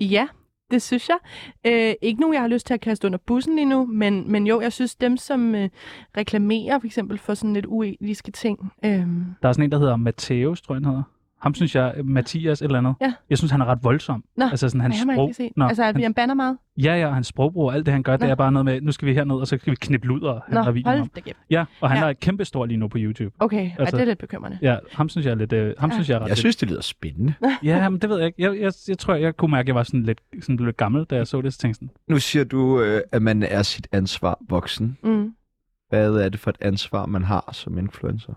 Speaker 3: Ja, det synes jeg. Øh, ikke nogen, jeg har lyst til at kaste under bussen lige nu, men, men jo, jeg synes dem, som øh, reklamerer for eksempel for sådan lidt uetiske ting, øh,
Speaker 4: Der er sådan en, der hedder Matteus, tror jeg, han hedder. Ham synes jeg, øh, Mathias et eller andet.
Speaker 3: Ja.
Speaker 4: Jeg synes, han er ret voldsom.
Speaker 3: Nå,
Speaker 4: altså sådan
Speaker 3: Han
Speaker 4: hans
Speaker 3: jeg har
Speaker 4: sprog.
Speaker 3: ikke set.
Speaker 4: Nå,
Speaker 3: altså, at vi
Speaker 4: han,
Speaker 3: han banner meget.
Speaker 4: ja, ja, og hans sprogbrug og alt det, han gør, det
Speaker 3: Nå.
Speaker 4: er bare noget med, nu skal vi herned, og så skal vi knippe luder,
Speaker 3: Nå,
Speaker 4: han har videoen
Speaker 3: hold
Speaker 4: om.
Speaker 3: da kæft.
Speaker 4: Ja, og han
Speaker 3: Ja.
Speaker 4: er kæmpestor lige nu på YouTube.
Speaker 3: Okay, altså,
Speaker 4: Altså-
Speaker 3: det er lidt bekymrende.
Speaker 4: Ja, ham synes jeg er lidt... Øh, ham
Speaker 3: Ja.
Speaker 4: synes jeg er ret
Speaker 1: Jeg synes, det lyder spændende.
Speaker 4: Ja, men det ved jeg ikke. Jeg, jeg, jeg tror, jeg kunne mærke, at jeg var sådan lidt, sådan lidt gammel, da jeg så det. Så tænkte jeg sådan,
Speaker 1: Nu siger du, øh, at man er sit ansvar voksen.
Speaker 3: Mm.
Speaker 1: Hvad er det for et ansvar, man har som influencer?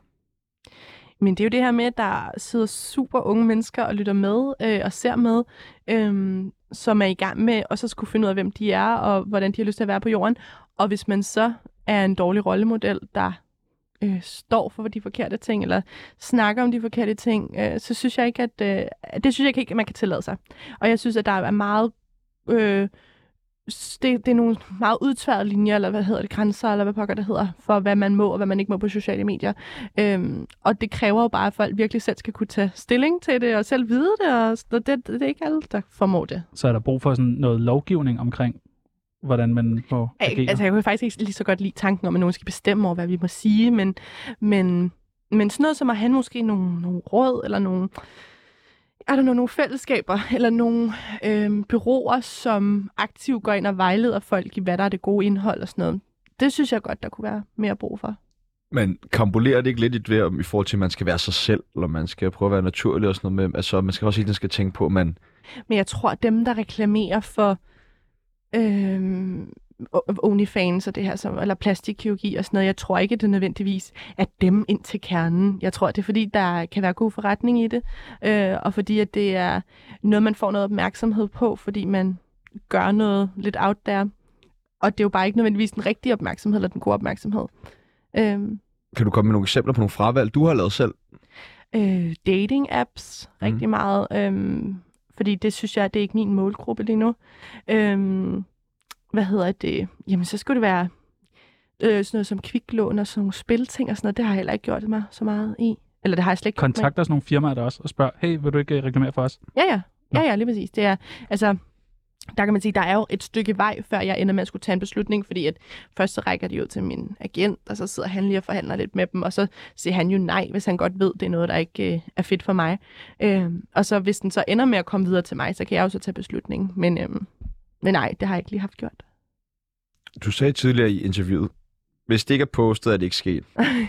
Speaker 3: Men det er jo det her med, at der sidder super unge mennesker og lytter med øh, og ser med, øh, som er i gang med og så skulle finde ud af, hvem de er og hvordan de har lyst til at være på jorden. Og hvis man så er en dårlig rollemodel, der øh, står for de forkerte ting, eller snakker om de forkerte ting, øh, så synes jeg ikke, at øh, det synes jeg ikke, at man kan tillade sig. Og jeg synes, at der er meget... Øh, s- det, det er nogle meget udtværede linjer, eller hvad hedder det, grænser, eller hvad pokker det hedder, for hvad man må og hvad man ikke må på sociale medier. Øhm, og det kræver jo bare, at folk virkelig selv skal kunne tage stilling til det, og selv vide det, og s- og det, det er ikke alle, der formår det.
Speaker 4: så er der brug for sådan noget lovgivning omkring, hvordan man må agere.
Speaker 3: Altså, jeg kunne faktisk ikke lige så godt lide tanken om, at nogen skal bestemme over, hvad vi må sige, men, men, men sådan noget som at have måske nogle, nogle råd, eller nogle, er der nogle fællesskaber, eller nogle øhm, byråer, som aktivt går ind og vejleder folk i, hvad der er det gode indhold og sådan noget. Det synes jeg godt, der kunne være mere brug for.
Speaker 1: Men kambolerer det ikke lidt i, det, om- i forhold til, at man skal være sig selv, eller man skal prøve at være naturlig og sådan noget med, altså man skal også hele tiden skal tænke på, at man
Speaker 3: Men jeg tror, at dem, der reklamerer for øhm, O- OnlyFans og det her, som, eller plastikkirurgi og sådan noget, jeg tror ikke, det er nødvendigvis er dem ind til kernen. Jeg tror, det er fordi, der kan være god forretning i det, øh, og fordi, at det er noget, man får noget opmærksomhed på, fordi man gør noget lidt out there. Og det er jo bare ikke nødvendigvis den rigtige opmærksomhed, eller den gode opmærksomhed. Øhm,
Speaker 1: kan du komme med nogle eksempler på nogle fravalg, du har lavet selv?
Speaker 3: øh, dating-apps
Speaker 1: Mm.
Speaker 3: rigtig meget, øhm, fordi det synes jeg, det er ikke min målgruppe lige nu. Øhm, hvad hedder det? Jamen, så skulle det være øh, sådan noget som kviklån og sådan nogle spilting og sådan noget. Det har jeg heller ikke gjort mig så meget i. Eller det har jeg slet ikke gjort mig i.
Speaker 4: Kontakter sådan nogle firmaer der også og spørger, hey, vil du ikke øh, reklamere for os?
Speaker 3: Ja, ja.
Speaker 4: Nå.
Speaker 3: Ja, ja, lige præcis. Det er, altså, der kan man sige, der er jo et stykke vej, før jeg ender med at skulle tage en beslutning, fordi at først så rækker de ud til min agent, og så sidder han lige og forhandler lidt med dem, og så siger han jo nej, hvis han godt ved, det er noget, der ikke øh, er fedt for mig. Øh, og så hvis den så ender med at komme videre til mig, så kan jeg jo så tage beslutningen. Men, øh, men nej, det har jeg ikke lige haft gjort.
Speaker 1: Du sagde tidligere i interviewet, hvis det ikke er postet, er det ikke sket.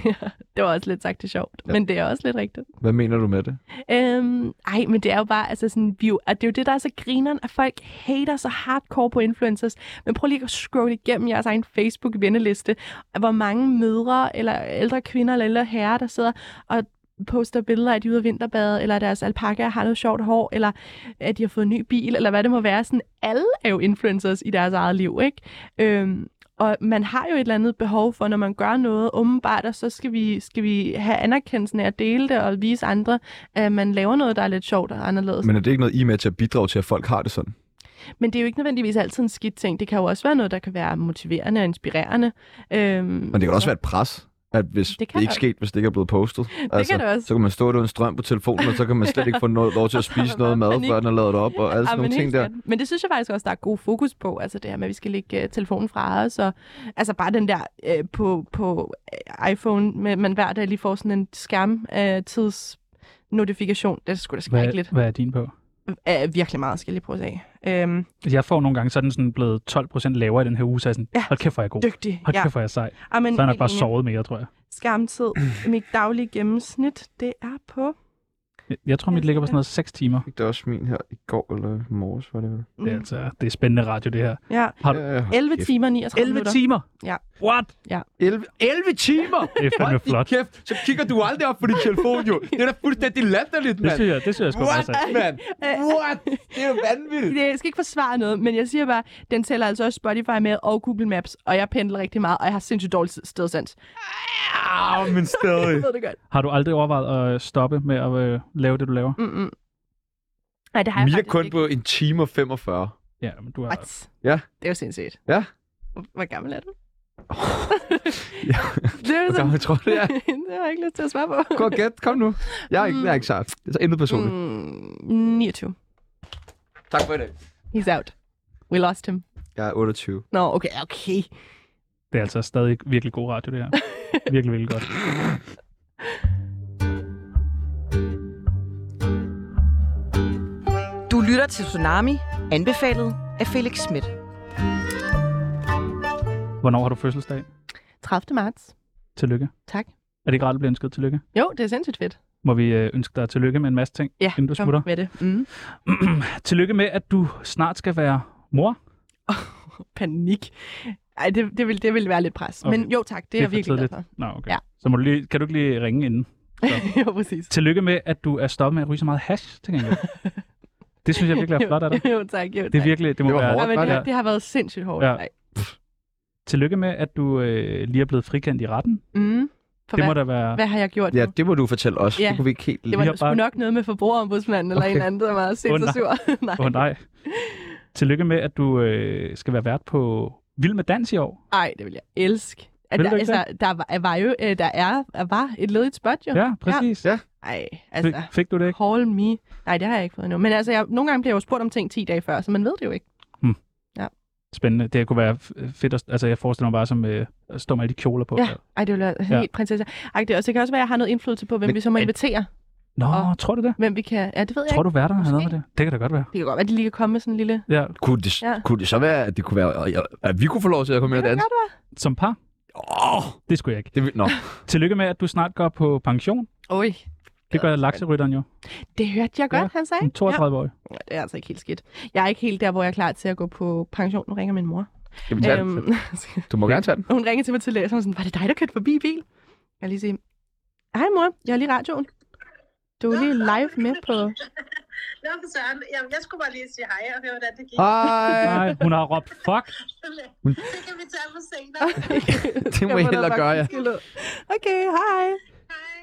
Speaker 3: Ja, det var også lidt sagt det sjovt,
Speaker 1: Ja.
Speaker 3: ja. men det er også lidt rigtigt.
Speaker 1: Hvad mener du med det?
Speaker 3: Øhm, ej, men det er jo bare, altså sådan, vi er jo, at det er jo det, der er så grineren, at folk hater så hardcore på influencers. Men prøv lige at scrolle igennem jeres egen Facebook-venneliste, hvor mange mødre, eller ældre kvinder, eller ældre herrer, der sidder og poster billeder af, at de er ude at vinterbade, eller deres alpaka har noget sjovt hår, eller at de har fået en ny bil, eller hvad det må være. Sådan, alle er jo influencers i deres eget liv, ikke? Øhm, og man har jo et eller andet behov for, når man gør noget åbenbart, og så skal vi, skal vi have anerkendelsen af at dele det og vise andre, at man laver noget, der er lidt sjovt og anderledes. Men,
Speaker 1: Men er det ikke noget, I er med til at bidrage til, at folk har det sådan?
Speaker 3: Men det er jo ikke nødvendigvis altid en skidt ting. Det kan jo også være noget, der kan være motiverende og inspirerende. Øhm,
Speaker 1: Men det kan også være et pres, at hvis det,
Speaker 3: Det
Speaker 1: det
Speaker 3: kan
Speaker 1: ikke er
Speaker 3: det.
Speaker 1: sket, hvis det ikke er blevet postet. Altså,
Speaker 3: Det kan det også.
Speaker 1: Så kan man stå der uden strøm på telefonen, og så kan man slet ikke få noget, lov til at
Speaker 3: Og så har
Speaker 1: spise
Speaker 3: man
Speaker 1: noget
Speaker 3: bare
Speaker 1: mad,
Speaker 3: panik.
Speaker 1: før den er lavet op, og alle sådan
Speaker 3: Ja, men
Speaker 1: nogle ting
Speaker 3: helt
Speaker 1: der.
Speaker 3: sikkert. Men det synes jeg faktisk også, der er god fokus på, altså det her med, at vi skal lægge øh, telefonen fra os, og altså bare den der øh, på, på øh, iPhone, med, man hver dag lige får sådan en skærm øh, tids notifikation. Det er sgu da
Speaker 4: Hvad,
Speaker 3: skrækkeligt.
Speaker 4: hvad er din på?
Speaker 3: Øh, virkelig meget, skal jeg lige prøve at sige. Øhm,
Speaker 4: Altså, Jeg får nogle gange sådan, sådan blevet 12% lavere i den her uge, så er jeg sådan,
Speaker 3: Ja.
Speaker 4: hold kæft, hvor er jeg god.
Speaker 3: dygtig.
Speaker 4: Hold kæft, hvor er jeg sej. Så
Speaker 3: Ah, men
Speaker 4: har jeg nok
Speaker 3: helt
Speaker 4: bare
Speaker 3: enig.
Speaker 4: sovet mere, tror jeg.
Speaker 3: Skærmtid. Mit daglige gennemsnit, det er på...
Speaker 4: Jeg- Jeg tror, mit ligger på sådan noget 6 timer.
Speaker 1: Fik det også min her i går eller i morges, var det vel?
Speaker 3: Mm.
Speaker 4: Det er, altså, det er spændende radio, det her.
Speaker 3: Ja,
Speaker 4: Har du-
Speaker 1: Ja,
Speaker 3: 11 timer 39
Speaker 4: 11
Speaker 3: minutter.
Speaker 4: timer?
Speaker 3: Ja.
Speaker 4: What?
Speaker 1: 11, 11 timer!
Speaker 4: Det er fandme flot.
Speaker 1: kæft, så kigger du aldrig op på din telefon, jo. Det er da fuldstændig latterligt,
Speaker 4: Det synes jeg, det synes jeg sgu altså. meget sejt.
Speaker 1: mand? What? Det er jo vanvittigt.
Speaker 3: Det- Jeg skal ikke forsvare noget, men jeg siger bare, den tæller altså også Spotify med og Google Maps, og jeg pendler rigtig meget, og jeg har sindssygt dårlig stedsans.
Speaker 1: Ah, men
Speaker 3: Jeg
Speaker 1: stadig.
Speaker 3: ved det godt.
Speaker 4: Har du aldrig overvejet at øh, stoppe med at øh, lave det, du laver?
Speaker 3: Mm-mm. Nej, det har jeg
Speaker 1: Min er
Speaker 3: faktisk
Speaker 1: kun
Speaker 3: ikke.
Speaker 1: på en time og 45.
Speaker 4: Ja, men du har...
Speaker 3: What?
Speaker 1: Ja.
Speaker 3: Det er jo sindssygt.
Speaker 1: Ja.
Speaker 3: Hvor gammel er du?
Speaker 1: Ja,
Speaker 3: Det er jo
Speaker 1: hvor
Speaker 3: sådan...
Speaker 1: gammel tror du, det er?
Speaker 3: det har jeg ikke lyst til at svare på.
Speaker 1: Gå og gæt, kom nu. Jeg er ikke,
Speaker 3: Mm.
Speaker 1: jeg er ikke sart. Det er så intet personligt.
Speaker 3: Mm, 29.
Speaker 1: Tak for i dag.
Speaker 3: He's out. We lost him.
Speaker 1: Jeg er 28.
Speaker 3: Nå, okay, okay.
Speaker 4: Det er altså stadig virkelig god radio, det her. Virkelig, virkelig godt.
Speaker 5: lytter til Tsunami, anbefalet af Felix Schmidt.
Speaker 4: Hvornår har du fødselsdag?
Speaker 3: 30. marts.
Speaker 4: Tillykke.
Speaker 3: Tak.
Speaker 4: Er det ikke rart at blive ønsket tillykke?
Speaker 3: Jo, det er sindssygt fedt.
Speaker 4: Må vi øh, ønske dig tillykke med en masse ting,
Speaker 3: Ja,
Speaker 4: inden du
Speaker 3: kom
Speaker 4: smutter?
Speaker 3: med det. Mm.
Speaker 4: Tillykke med, at du snart skal være mor.
Speaker 3: Panik. Ej, det, det, vil, det vil være lidt pres.
Speaker 4: Okay.
Speaker 3: Okay. Men jo tak, det, det
Speaker 4: er
Speaker 3: er jeg
Speaker 4: for
Speaker 3: virkelig glad for.
Speaker 4: Nå, okay.
Speaker 3: Ja.
Speaker 4: Så må du lige, kan du ikke lige ringe inden?
Speaker 3: jo, præcis.
Speaker 4: Tillykke med, at du er stoppet med at ryge så meget hash, til gengæld. det synes jeg virkelig er flot af dig.
Speaker 3: jo tak, jo tak.
Speaker 4: Det er virkelig, det må
Speaker 1: Det var
Speaker 4: være...
Speaker 1: hårdt,
Speaker 3: Ej, men det,
Speaker 1: var
Speaker 3: har- det har været sindssygt hårdt.
Speaker 4: Ja.
Speaker 3: Ja.
Speaker 4: Tillykke med, at du øh, lige er blevet frikendt i retten.
Speaker 3: Mm. For
Speaker 4: Det
Speaker 3: hvad,
Speaker 4: må da være...
Speaker 3: hvad har jeg gjort
Speaker 1: Ja,
Speaker 3: nu?
Speaker 1: det må du fortælle os.
Speaker 3: Ja.
Speaker 1: Det kunne vi ikke helt
Speaker 3: Det var
Speaker 4: Vi har
Speaker 3: sgu bare...
Speaker 4: bare-
Speaker 3: nok noget med forbrugerombudsmanden eller
Speaker 1: Okay.
Speaker 3: okay. en anden, der var sindssygt
Speaker 4: nej.
Speaker 3: sur. nej.
Speaker 4: Åh oh, nej. Tillykke med, at du øh, skal være vært på Vild med Dans i år.
Speaker 3: Ej, det vil jeg elske. At
Speaker 4: Vil
Speaker 3: der,
Speaker 4: du ikke
Speaker 3: altså, der var, var jo, øh, der er, der var et ledigt spot jo.
Speaker 4: Ja, præcis.
Speaker 1: Ja.
Speaker 3: Ej,
Speaker 4: Fik,
Speaker 3: altså,
Speaker 4: fik du det ikke?
Speaker 3: call me. Nej, det har jeg ikke fået endnu. Men altså, jeg, nogle gange bliver jeg jo spurgt om ting 10 dage før, så man ved det jo ikke.
Speaker 4: Spændende. Det kunne være f- fedt at... Altså, jeg forestiller mig bare som øh, at stå med alle de kjoler på.
Speaker 3: Ja. Ej, det vil være helt
Speaker 4: Ja.
Speaker 3: ja. prinsesse. Ej, det, også, det kan også være, at jeg har noget indflydelse på, hvem
Speaker 1: Men
Speaker 3: vi så må
Speaker 1: er-
Speaker 3: invitere.
Speaker 4: Nå,
Speaker 3: Og-
Speaker 4: tror du det?
Speaker 3: Hvem vi kan... Ja, det ved jeg
Speaker 4: Tror
Speaker 3: ikke.
Speaker 4: du, værterne har noget med
Speaker 3: Måske.
Speaker 4: det? Det kan da godt være.
Speaker 3: Det kan godt være, at de lige kan komme med sådan en lille...
Speaker 4: Ja,
Speaker 1: Kunne det, ja.
Speaker 3: Ja.
Speaker 1: kunne det så være, at det kunne være, at vi kunne få lov til at komme ind og
Speaker 3: Det kan
Speaker 1: danse?
Speaker 3: godt være.
Speaker 4: som par?
Speaker 1: Åh, oh,
Speaker 4: Det skulle jeg ikke.
Speaker 1: det vil... Nå,
Speaker 4: Tillykke med, at du snart går på pension.
Speaker 3: Oj,
Speaker 4: Det gør lakserytteren jo.
Speaker 3: det hørte jeg godt,
Speaker 4: Ja. Mm,
Speaker 3: ja. han sagde.
Speaker 4: Som 32 år.
Speaker 3: Ja, det er altså ikke helt skidt. Jeg er ikke helt der, hvor jeg er klar til at gå på pension. Nu ringer min mor.
Speaker 1: jamen, tage den.
Speaker 3: Øhm,
Speaker 1: Du må gerne tage den.
Speaker 3: hun ringer til mig til læser, og hun er sådan, var det dig, der kørte forbi i bil? Jeg lige sige, hej mor, jeg er lige i radioen. Du er lige live med på...
Speaker 7: Nå, for søren. Jamen, jeg skulle bare lige sige hej og høre, hvordan det gik.
Speaker 1: Ej,
Speaker 4: Nej, hun har råbt fuck.
Speaker 7: Det kan vi tage på senere.
Speaker 1: det må jeg hellere gøre, ja.
Speaker 3: Okay, hej.
Speaker 7: Hej.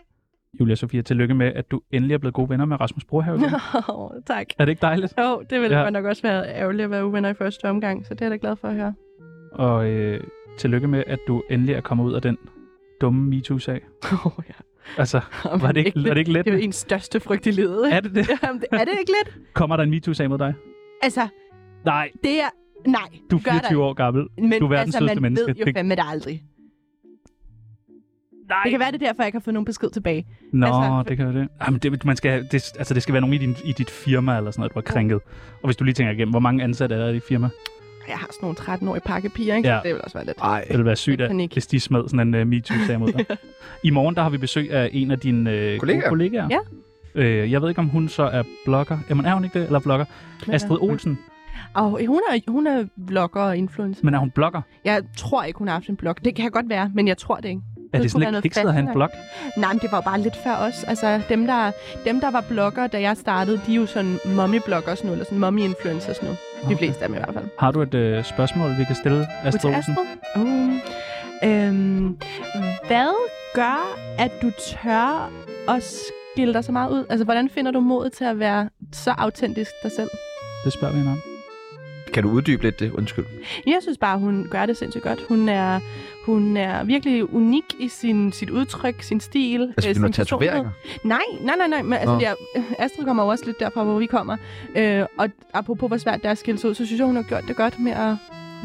Speaker 4: Julia Sofia, tillykke med, at du endelig er blevet gode venner med Rasmus Brohave. igen.
Speaker 3: Oh, tak.
Speaker 4: er det ikke dejligt?
Speaker 3: Jo, oh, det ville
Speaker 4: Ja.
Speaker 3: ja. nok også være ærgerligt at være uvenner i første omgang, så det er jeg da glad for at høre.
Speaker 4: Og øh, tillykke med, at du endelig er kommet ud af den dumme MeToo-sag.
Speaker 3: Oh, ja.
Speaker 4: Altså, var det ikke, var det ikke let?
Speaker 3: Det er jo ens største frygt i livet. ikke?
Speaker 4: Er det det?
Speaker 3: Jamen, det- er det ikke lidt?
Speaker 4: Kommer der en MeToo-sag mod dig?
Speaker 3: Altså,
Speaker 4: Nej,
Speaker 3: det er... Nej,
Speaker 4: du er
Speaker 3: gør der
Speaker 4: 24 år gammel.
Speaker 3: Men
Speaker 4: Du er verdens
Speaker 3: altså,
Speaker 4: sødeste
Speaker 3: man
Speaker 4: menneske.
Speaker 3: ved jo
Speaker 4: Det-
Speaker 3: fandme det aldrig.
Speaker 4: Nej.
Speaker 3: Det kan være, det er derfor, jeg ikke har fået nogen besked tilbage.
Speaker 4: Nå,
Speaker 3: altså-
Speaker 4: det kan jo det. Jamen, det, man skal, det, altså, det skal være nogen i, din, i dit firma eller sådan noget, du har krænket. Og hvis du lige tænker igennem, hvor mange ansatte er der i dit firma?
Speaker 3: Jeg har sådan nogle 13-årige pakkepiger, ikke?
Speaker 4: Ja.
Speaker 3: Ja. Det vil også være lidt.
Speaker 1: Ej,
Speaker 4: Det ville være sygt, at,
Speaker 3: Panik.
Speaker 4: hvis de smed sådan en uh, MeToo-sag mod dig. I morgen der har vi besøg af en af dine uh,
Speaker 1: Kollegaer.
Speaker 4: kollegaer.
Speaker 3: Ja.
Speaker 4: Øh, jeg ved ikke, om hun så er blogger. Jamen, er hun ikke det? Eller blogger?
Speaker 3: Men, øh,
Speaker 4: Astrid Olsen.
Speaker 3: Og hun er, hun er blogger og influencer.
Speaker 4: Men er hun blogger?
Speaker 3: Jeg tror ikke, hun har haft en blog. Det kan godt være, men jeg tror det ikke.
Speaker 4: Er
Speaker 3: skulle
Speaker 4: det sådan
Speaker 3: være
Speaker 4: lidt
Speaker 3: noget
Speaker 4: kikset at have en
Speaker 3: fashion-
Speaker 4: blog?
Speaker 3: Nej, men det var jo bare lidt før os. Altså, dem der, dem, der var blogger, da jeg startede, de er jo sådan mommy-bloggers nu, eller sådan mommy-influencers nu. Okay.
Speaker 4: Okay.
Speaker 3: De fleste af dem i hvert fald.
Speaker 4: Har du et øh, spørgsmål, vi kan stille
Speaker 3: Og til
Speaker 4: Astrid Olsen?
Speaker 3: Astrid? Uh, øhm, hvad gør, at du tør at skille dig så meget ud? Altså, hvordan finder du mod til at være så autentisk dig selv?
Speaker 4: Det spørger vi hende om.
Speaker 1: kan du uddybe lidt det? Undskyld.
Speaker 3: Jeg synes bare, hun gør det sindssygt godt. Hun er, hun er virkelig unik i sin, sit udtryk, sin stil.
Speaker 1: Altså,
Speaker 3: øh,
Speaker 1: vil du have
Speaker 3: sin personlighed.
Speaker 1: tatoveringer?
Speaker 3: Nej, nej, nej, nej. Men, altså,
Speaker 1: Nå.
Speaker 3: jeg, Astrid kommer jo også lidt derfra, hvor vi kommer. Øh, og apropos, hvor svært det er at skille sig ud, så synes jeg, hun har gjort det godt med at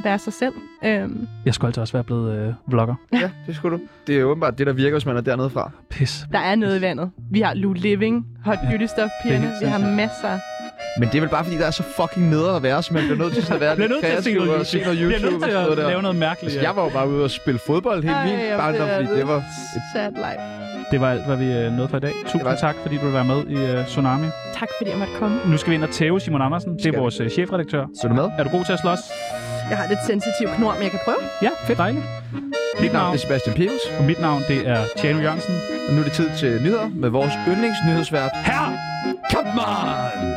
Speaker 3: være sig selv. Øh,
Speaker 4: Jeg skulle altså også være blevet øh, vlogger.
Speaker 1: Ja, det skulle du. Det er åbenbart det, der virker, hvis man er dernede fra.
Speaker 4: Pis.
Speaker 3: der er noget i vandet. Vi har Lou Living, Hot
Speaker 4: Ja,
Speaker 3: Beauty Stuff, pigerne.
Speaker 4: helt
Speaker 3: Vi har
Speaker 4: sindssygt.
Speaker 3: masser.
Speaker 1: Men det er vel bare, fordi der er så fucking nederen at være, så man bliver nødt til sådan at være
Speaker 4: Bliver
Speaker 1: lidt
Speaker 4: nødt til at se
Speaker 1: kreativ
Speaker 4: noget
Speaker 1: og se noget
Speaker 4: Bliver
Speaker 1: YouTube
Speaker 4: nødt
Speaker 1: og
Speaker 4: til
Speaker 1: sådan noget
Speaker 4: at lave
Speaker 1: der.
Speaker 4: noget mærkeligt.
Speaker 1: Altså,
Speaker 4: ja.
Speaker 1: jeg var jo bare ude og spille fodbold hele min
Speaker 3: Ej, jeg
Speaker 1: barndom,
Speaker 3: bliver
Speaker 1: fordi det var...
Speaker 3: Sad life.
Speaker 4: Det var alt, hvad vi øh, nåede for i dag. Tusind
Speaker 1: var det.
Speaker 4: tak, fordi du vil være med i øh, Tsunami.
Speaker 3: Tak fordi jeg måtte komme.
Speaker 4: Nu skal vi ind og tæve Simon Andersen. Det er
Speaker 1: Skal vi?
Speaker 4: vores øh, chefredaktør.
Speaker 1: Så er du med?
Speaker 4: Er du god til at slås?
Speaker 3: Jeg har lidt sensitiv knor, men jeg kan prøve.
Speaker 4: Ja, fedt. Dejligt.
Speaker 1: Mit
Speaker 4: Mit
Speaker 1: navn
Speaker 4: navn,
Speaker 1: er Sebastian Pibels,
Speaker 4: og mit navn, det er Tjano Jørgensen.
Speaker 1: og nu er det tid til nyheder med vores yndlingsnyhedsvært,
Speaker 4: Her!
Speaker 1: Kampmann!